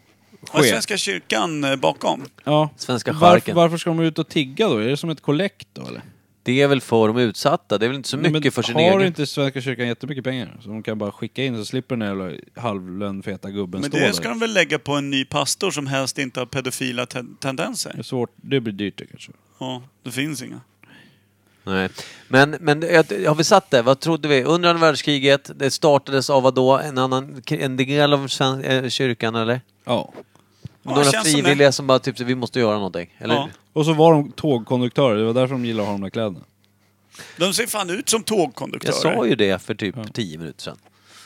[SPEAKER 1] Vad är
[SPEAKER 2] chef.
[SPEAKER 1] Svenska kyrkan eh, bakom?
[SPEAKER 2] Ja.
[SPEAKER 5] Svenska
[SPEAKER 2] varför,
[SPEAKER 5] charken.
[SPEAKER 2] varför ska de ut och tigga då? Är det som ett kollekt då eller?
[SPEAKER 5] Det är väl för de utsatta, det är väl inte så mycket
[SPEAKER 2] Men
[SPEAKER 5] för sin
[SPEAKER 2] har
[SPEAKER 5] egen...
[SPEAKER 2] inte Svenska kyrkan jättemycket pengar? Så de kan bara skicka in så slipper den här jävla halvlönfeta gubben
[SPEAKER 1] Men
[SPEAKER 2] stå
[SPEAKER 1] det ska
[SPEAKER 2] där.
[SPEAKER 1] de väl lägga på en ny pastor som helst inte har pedofila ten-
[SPEAKER 2] Det, är
[SPEAKER 1] tendenser?
[SPEAKER 2] svårt. det blir dyrt det kanske.
[SPEAKER 1] Ja, det finns inga.
[SPEAKER 5] Nej. Men, men jag- har vi satt det? Vad trodde vi? Under andra världskriget, det startades av vad då? En, annan, en del av sven- eh, kyrkan eller?
[SPEAKER 2] Ja.
[SPEAKER 1] Ja,
[SPEAKER 5] Några
[SPEAKER 1] känns som det.
[SPEAKER 5] frivilliga som bara typ, vi måste göra någonting. Eller?
[SPEAKER 1] Ja.
[SPEAKER 2] Och så var de tågkonduktörer, det var därför de gillade att ha de där kläderna.
[SPEAKER 1] De ser fan ut som tågkonduktörer.
[SPEAKER 5] Jag sa ju det för typ tio minuter sedan.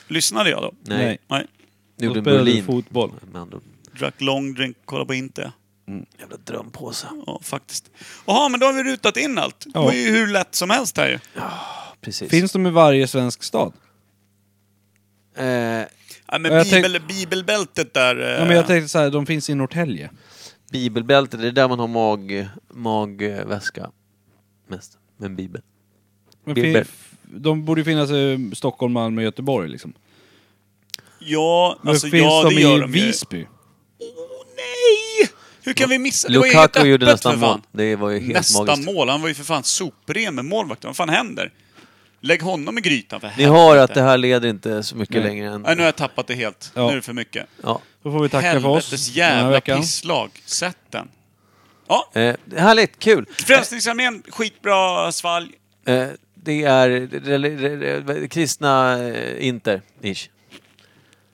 [SPEAKER 1] Lyssnade jag då?
[SPEAKER 5] Nej.
[SPEAKER 2] Nej.
[SPEAKER 1] Nej.
[SPEAKER 5] Nu
[SPEAKER 2] Då
[SPEAKER 5] gjorde
[SPEAKER 2] spelade du
[SPEAKER 5] Berlin.
[SPEAKER 2] fotboll.
[SPEAKER 5] Med andra ord.
[SPEAKER 1] Drack long drink, kollade på inte.
[SPEAKER 5] Jävla drömpåse.
[SPEAKER 1] Ja, faktiskt. Jaha, men då har vi rutat in allt. Det
[SPEAKER 2] Ja.
[SPEAKER 1] var ju hur lätt som helst här ju.
[SPEAKER 5] Precis.
[SPEAKER 2] Finns de i varje svensk stad?
[SPEAKER 5] Eh,
[SPEAKER 1] Ja,
[SPEAKER 2] Ja,
[SPEAKER 1] men
[SPEAKER 2] jag
[SPEAKER 1] bibel, bibelbältet där... eh,
[SPEAKER 2] Ja, men jag tänkte så här, de finns i Norrtälje.
[SPEAKER 5] bibelbälte, det är där man har mag, magväska mest. Med en bibel.
[SPEAKER 2] Men
[SPEAKER 5] Bibel.
[SPEAKER 2] fin, de borde ju finnas i Stockholm, Malmö, Göteborg liksom.
[SPEAKER 1] ja,
[SPEAKER 2] Men
[SPEAKER 1] alltså,
[SPEAKER 2] finns
[SPEAKER 1] ja, det
[SPEAKER 2] de
[SPEAKER 1] gör
[SPEAKER 2] i
[SPEAKER 1] de ju.
[SPEAKER 2] Visby?
[SPEAKER 1] Åh, nej! Hur kan vi missa? Det var ju helt
[SPEAKER 5] Lukaku gjorde
[SPEAKER 1] öppet för
[SPEAKER 5] nästan
[SPEAKER 1] fan.
[SPEAKER 5] mål. Det var ju helt
[SPEAKER 1] Nästa
[SPEAKER 5] magiskt.
[SPEAKER 1] mål. Han var ju för fan sopren med målvakten. Vad fan händer? Lägg honom i grytan för
[SPEAKER 5] Ni hör att det här leder inte så mycket
[SPEAKER 2] Nej.
[SPEAKER 5] längre än...
[SPEAKER 1] Nej, nu har jag tappat det helt.
[SPEAKER 2] Ja.
[SPEAKER 1] Nu är det för mycket.
[SPEAKER 5] Ja.
[SPEAKER 2] Då får vi tacka för oss
[SPEAKER 1] Helvetes
[SPEAKER 2] den här
[SPEAKER 1] jävla
[SPEAKER 2] veckan.
[SPEAKER 1] pisslag. Sätt den. Ja,
[SPEAKER 5] Eh, härligt, kul!
[SPEAKER 1] Frälsningsarmén, skitbra svalg.
[SPEAKER 5] Eh, det är reli- re- re- kristna eh, inter, ish.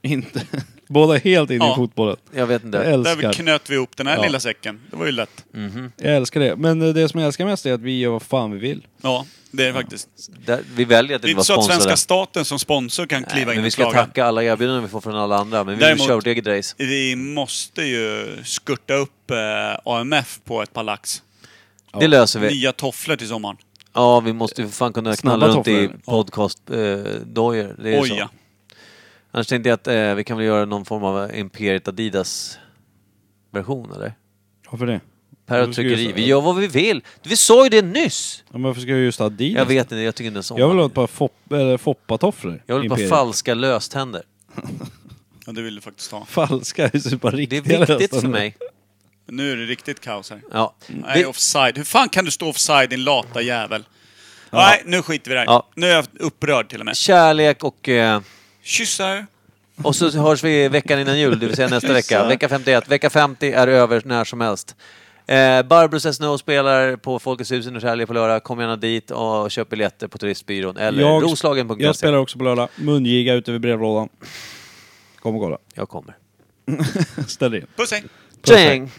[SPEAKER 2] Inte. Båda är helt inne
[SPEAKER 1] Ja.
[SPEAKER 2] i fotbollen.
[SPEAKER 5] Jag vet
[SPEAKER 2] Jag
[SPEAKER 5] inte.
[SPEAKER 1] Där
[SPEAKER 2] älskar,
[SPEAKER 1] knöt vi ihop den här
[SPEAKER 2] Ja.
[SPEAKER 1] lilla säcken. Det var ju lätt.
[SPEAKER 2] jag älskar det. Men eh, det som jag älskar mest är att vi gör vad fan vi vill.
[SPEAKER 1] Ja, det är det faktiskt.
[SPEAKER 5] Där, vi väljer att
[SPEAKER 1] Det är
[SPEAKER 5] inte vara
[SPEAKER 1] inte så att
[SPEAKER 5] sponsrade.
[SPEAKER 1] svenska staten som sponsor kan kliva
[SPEAKER 5] Nej,
[SPEAKER 1] in
[SPEAKER 5] men vi
[SPEAKER 1] och
[SPEAKER 5] ska
[SPEAKER 1] klaga.
[SPEAKER 5] tacka alla erbjudanden vi får från alla andra, men vi
[SPEAKER 1] Däremot-
[SPEAKER 5] vill köra vårt eget race.
[SPEAKER 1] Vi måste ju skurta upp eh, AMF på ett par lax.
[SPEAKER 5] Det löser vi.
[SPEAKER 1] Nya tofflor till sommaren.
[SPEAKER 5] Ja, vi måste ju för fan kunna
[SPEAKER 2] Snabba
[SPEAKER 5] knalla runt i
[SPEAKER 2] tofflor.
[SPEAKER 5] podcast-dojor. Eh, dojor. det är
[SPEAKER 1] Oj
[SPEAKER 5] så.
[SPEAKER 1] ja.
[SPEAKER 5] Annars tänkte jag att eh, vi kan väl göra någon form av Imperiet Adidas-version, eller?
[SPEAKER 2] Varför det?
[SPEAKER 5] Per och
[SPEAKER 2] Varför ska vi
[SPEAKER 5] tryckeri.
[SPEAKER 2] göra så?
[SPEAKER 5] Vi gör vad vi vill! Vi sa ju det nyss!
[SPEAKER 2] Ja, men varför ska jag just ha Adidas?
[SPEAKER 5] Jag vet inte, jag tycker inte ens om
[SPEAKER 2] Jag vill ha
[SPEAKER 5] det.
[SPEAKER 2] ett par fopp, eller foppatofflor.
[SPEAKER 5] Jag vill bara
[SPEAKER 2] Imperiet.
[SPEAKER 5] falska löständer.
[SPEAKER 1] ja. Det vill du faktiskt ha.
[SPEAKER 2] Falska är ju bara
[SPEAKER 5] Det är
[SPEAKER 2] riktiga
[SPEAKER 5] viktigt
[SPEAKER 2] nästan.
[SPEAKER 5] för mig.
[SPEAKER 1] Nu är det riktigt kaos här.
[SPEAKER 5] Ja.
[SPEAKER 1] Mm. Nej,
[SPEAKER 5] Vi,
[SPEAKER 1] offside. Hur fan kan du stå offside din lata jävel? Nej, nu skiter vi i det här.
[SPEAKER 5] Ja.
[SPEAKER 1] Nu är jag upprörd till och med.
[SPEAKER 5] kärlek och... Eh,
[SPEAKER 1] Kyssar.
[SPEAKER 5] och så hörs vi veckan innan jul, det vill säga nästa vecka. Vecka 51. Vecka 50 är över när som helst. Eh, Barbro Snow spelar på Folkets hus i Norrtälje på lördag. Kom gärna dit och köp biljetter på Turistbyrån eller
[SPEAKER 2] Jag-
[SPEAKER 5] roslagen.se.
[SPEAKER 2] Jag spelar också på lördag. Mungiga ute vid brevlådan. Kom och kolla.
[SPEAKER 5] Jag kommer.
[SPEAKER 2] Ställ in.
[SPEAKER 1] Puss hej!
[SPEAKER 5] Tjing!